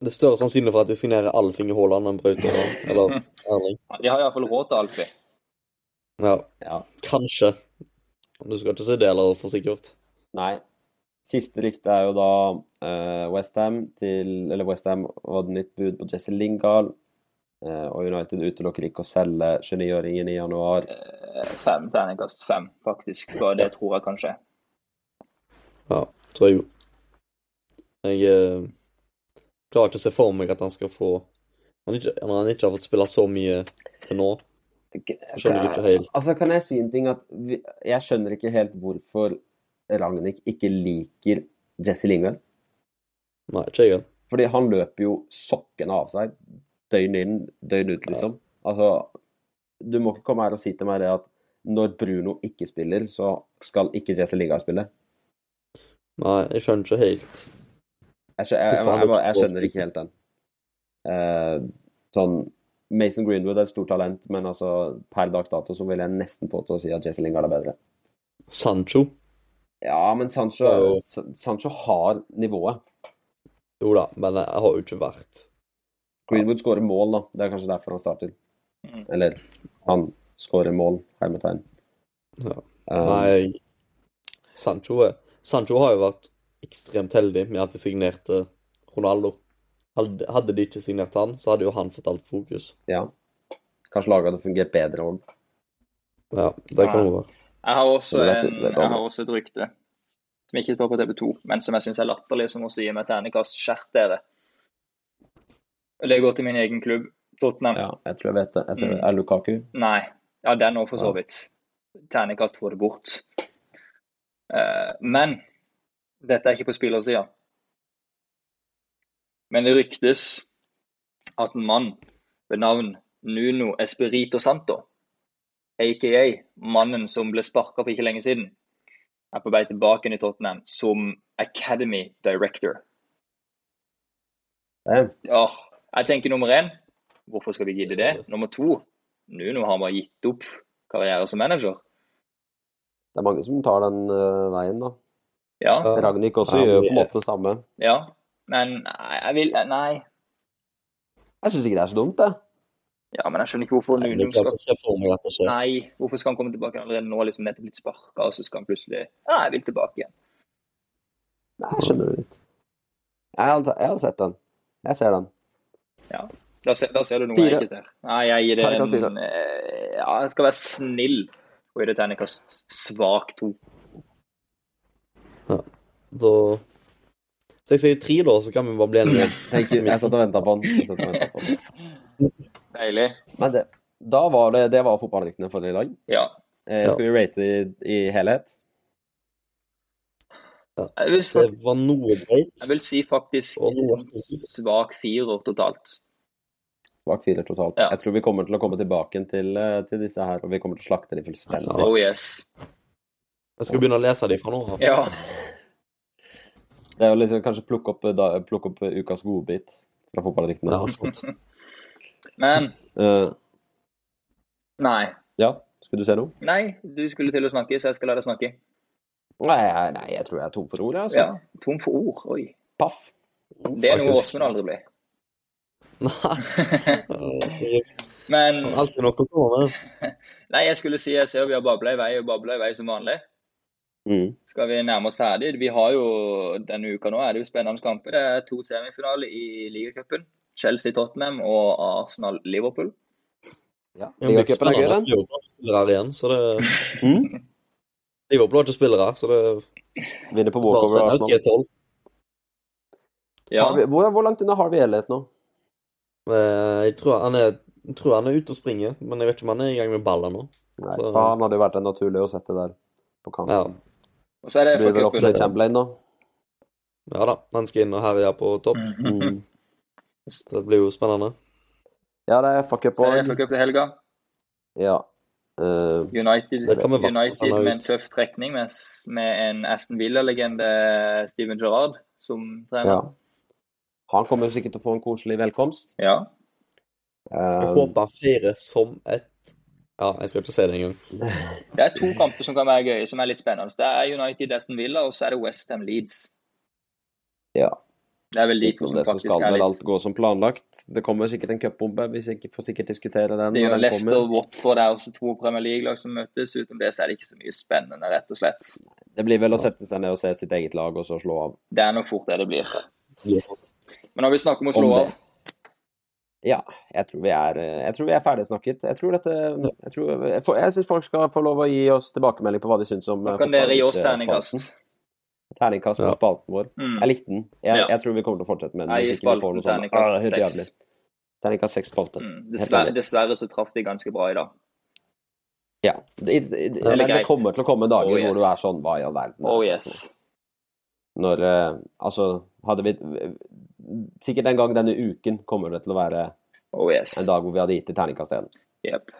S3: Det er større sannsynlig for at de signerer Alfing i Haaland enn Braute eller Erling.
S2: Ja, De har iallfall råd til alt. vi.
S3: Ja,
S1: Ja.
S3: kanskje. Du skal ikke si det eller for sikkert.
S1: Nei. Siste riktige er jo da eh, Westham til Eller Westham hadde nytt bud på Jesse Lingard. eh, og United utelukker ikke å selge 29-åringen i januar.
S2: Eh, Fem terningkast fem, faktisk. Så det tror jeg kanskje.
S3: Ja, tror jeg jo. Jeg eh, klarer ikke å se for meg at han skal få han ikke, Når han ikke har fått spille så mye til nå, skjønner jeg ikke helt.
S1: Altså, kan jeg si en ting at vi, jeg skjønner ikke helt hvorfor Ragnhild ikke liker Jesse Lingard.
S3: Nei, ikke jeg.
S1: Fordi han løper jo sokkene av seg døgn inn, døgn ut, liksom. Altså, du må ikke komme her og si til meg det at når Bruno ikke spiller, så skal ikke Jesse Lingard spille.
S3: Nei, jeg skjønner ikke helt.
S1: Jeg, skjø- jeg, jeg,
S3: Fy faen,
S1: jeg, bare-
S3: det er
S1: jeg skjønner ikke helt den. Eh, sånn Mason Greenwood er et stort talent, men altså, per dags dato så vil jeg nesten påstå å si at Jesse Lingard er bedre.
S3: Sancho?
S1: Ja, men Sancho,
S3: Ja, jo.
S1: Sa- Sancho har nivået.
S3: Jo da, men jeg har jo ikke vært
S1: Greenwood skårer mål, da. Det er kanskje derfor han starter.
S2: Mm.
S1: Eller han skårer mål, hermetegn.
S3: ja.
S1: Um,
S3: Nei, Sancho, er- Sancho har jo vært ekstremt heldig med at de signerte Ronaldo. Hadde hadde de ikke signert han, så hadde jo han fått alt fokus.
S1: Ja. Kanskje laget hadde fungert bedre òg.
S3: Ja, det kan jo være.
S2: Jeg har også,
S1: Det er lett-
S2: en,
S1: det er bra.
S2: jeg har også et rykte som ikke står på TV 2, men som jeg syns er latterlig, som også gir meg terningkast skjerp dere. Eller jeg går til min egen klubb, Tottenham.
S1: Ja, jeg tror jeg vet det. Jeg tror
S2: Mm.
S1: Er Lukaku?
S2: Nei. Ja, den òg, for så vidt. Terningkast får det bort. Eh, men dette er ikke på spillersida. Men det ryktes at en mann ved navn Nuno Esperito Santo, aka mannen som ble sparka for ikke lenge siden, er på vei tilbake inn i Tottenham som Academy Director.
S1: Det er-
S2: Åh, jeg tenker nummer én, hvorfor skal vi gidde det? Nummer to, Nuno har bare gitt opp karriere som manager.
S1: det er mange som tar den øh, veien, da.
S2: Ja,
S3: Ja.
S1: Ragnhild også
S3: Ja,
S1: gjør jo på en
S3: mye.
S1: måte det samme.
S2: ja. Men nei, jeg vil Nei.
S1: Jeg syns ikke det er så dumt, det.
S2: Ja, men jeg skjønner ikke hvorfor
S3: Jeg klarer
S2: Nuno skal
S3: ikke å se for meg at det skjer.
S2: Nei, hvorfor skal han komme tilbake allerede nå, liksom nettopp blitt sparka, og så skal han plutselig Ja, jeg vil tilbake igjen.
S1: Nei, jeg skjønner det litt. Jeg hadde, jeg hadde sett den. Jeg ser den.
S2: Da ser, da ser du noe
S1: Fire.
S2: jeg ikke ser. Nei, jeg gir det
S1: Terningkast fire.
S2: en eh, Ja, jeg skal være snill og gi det terningkast svak to.
S3: Da Så jeg sier tre, da, så kan vi bare bli enige.
S1: Tenk, jeg
S2: altså.
S1: satt og venta på den. Jeg satt og ventet på den.
S2: Deilig.
S1: Men det, da var det, det var fotballryktene for i dag.
S2: Ja.
S1: Eh,
S3: Ja.
S1: skal vi rate det i, i helhet?
S2: Jeg vil,
S3: Det
S2: fak-
S3: var noe greit.
S2: jeg vil si faktisk
S3: Og noe.
S2: svak firer totalt.
S1: Svak firer totalt.
S2: Ja.
S1: Jeg tror vi kommer til å komme tilbake igjen til, eh, til disse her, og vi kommer til å slakte de fullstendig.
S3: Ja.
S2: Oh yes.
S3: Jeg skal begynne å lese de fra nå av.
S2: Ja.
S1: Det er jo liksom kanskje plukke opp, eh, da, plukke opp eh, ukas godbit fra fotballryktene.
S3: Ja, sant.
S2: Men
S1: Eh,
S2: nei.
S1: ja, skulle du se noe?
S2: Nei, du skulle til å snakke, så jeg skal la deg snakke.
S1: Nei, jeg- nei, jeg tror jeg er tom for ord, jeg, altså.
S2: Ja, Tom for ord. Oi.
S1: Paff.
S2: Det er noe
S3: Faktisk.
S2: Åsmund aldri ble.
S3: Nei. det er
S2: Men
S3: Alltid noe å komme med.
S2: nei, jeg skulle si jeg ser vi har babla i vei og babla i vei som vanlig.
S1: Mm.
S2: Skal vi nærme oss ferdig? Vi har jo denne uka nå er det jo spennende kamper. Det er to semifinaler i ligacupen. Chelsea-Tottenham og Arsenal-Liverpool.
S1: Ja.
S3: Det blir
S1: Ligacupen er gøy,
S3: spennende.
S1: den.
S3: Liverpool har ikke spillere her igjen, så det
S1: Mm.
S3: Liverpool har ikke spillere her, så det
S1: Vinner på
S3: Bare
S1: walkover
S3: send ut
S1: Arsenal.
S3: G12.
S2: Ja,
S1: Har vi- Hvor, hvor langt unna har vi i helhet nå?
S3: Eh, Jeg tror han er jeg tror han er ute og springer, men jeg vet ikke om han er i gang med ballen nå.
S1: Nei,
S3: Så-
S1: faen hadde jo vært det naturlig å sette der på kant.
S3: Ja,
S2: og så er det
S1: Blir
S2: for
S1: vel opp til
S2: cupen.
S1: Chamberlain nå.
S3: ja da, han skal inn og herje på topp.
S2: Mhm.
S1: Mm.
S3: Det blir jo spennende.
S1: Ja, det er FA-cup
S2: Så er
S1: òg.
S2: FA Cup til helga.
S1: Ja. Eh,
S2: United,
S3: Det kan vi i hvert fall
S2: United
S3: sende
S2: med en
S3: ut.
S2: tøff trekning med, s- med en Aston Villa-legende, Steven Gerrard, som
S1: ja.
S2: trener.
S1: Han kommer jo sikkert til å få en koselig velkomst.
S2: Ja.
S1: Eh,
S3: Jeg håper han feirer som et Ja, jeg skal ikke si det engang.
S2: Det er to kamper som kan være gøye, som er litt spennende. Det er United, Aston Villa, og så er det Westham Leeds.
S1: Ja.
S2: Det er vel de to
S1: Utenom
S2: som
S1: det så
S2: faktisk
S1: skal
S2: er
S1: vel
S2: litt
S1: alt gå som planlagt. Det kommer sikkert en cupbombe. Vi sikk- får sikkert diskutere den
S2: Det
S1: når
S2: gjør
S1: den
S2: Leicester
S1: kommer.
S2: og Watford er også to Premier League-lag som møtes. Utenom det så er det ikke så mye spennende, rett og slett.
S1: Det blir vel å sette seg ned og se sitt eget lag og så slå av.
S2: Det er nok fort det det blir.
S3: Yes.
S2: Men når vi snakker om å slå
S1: Om det.
S2: av
S1: Ja, jeg tror vi er, eh, jeg tror vi er ferdigsnakket. Jeg tror dette Jeg, tror, jeg, får- jeg syns folk skal få lov å gi oss tilbakemelding på hva de syns om
S2: Da
S1: eh,
S2: kan dere gi oss
S1: fotballspalten.
S2: terningkast.
S1: Terningkast på
S3: Ja.
S1: spalten vår.
S2: Mm.
S1: Jeg likte den. Jeg,
S2: Ja.
S1: jeg tror vi kommer til å fortsette med den.
S2: Jeg gir
S1: Hvis ikke vi får
S2: spalten
S1: noe sånn
S2: terningkast
S1: ah, helt
S2: seks.
S1: jævlig. Terningkast seks spalte.
S2: Mm. Dessverre,
S1: enig.
S2: dessverre så traff de ganske bra i dag.
S1: Ja. Det, det, det,
S2: Eller
S1: men det
S2: greit.
S1: kommer til å komme dager
S2: Oh, yes.
S1: hvor du er sånn Hva i all verden?
S2: Oh
S1: er dette for noe?
S2: yes.
S1: Når eh, Altså, hadde vi Sikkert en gang denne uken kommer det til å være
S2: Oh yes.
S1: en dag hvor vi hadde gitt i terningkast én.
S2: Jep.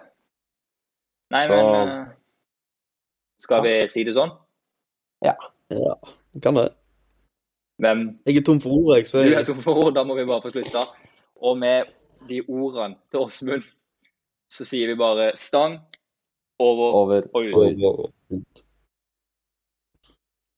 S2: Nei,
S1: Så-
S2: men eh, Skal vi si det sånn?
S3: Ja, kan det.
S2: Hvem
S3: Jeg er tom for ord, jeg, så
S2: Du
S3: jeg
S2: vet hvorfor, da må vi bare få slutta. Og med de ordene til Åsmund, så sier vi bare stang over
S1: Over.
S2: og ut.
S3: Over og ut.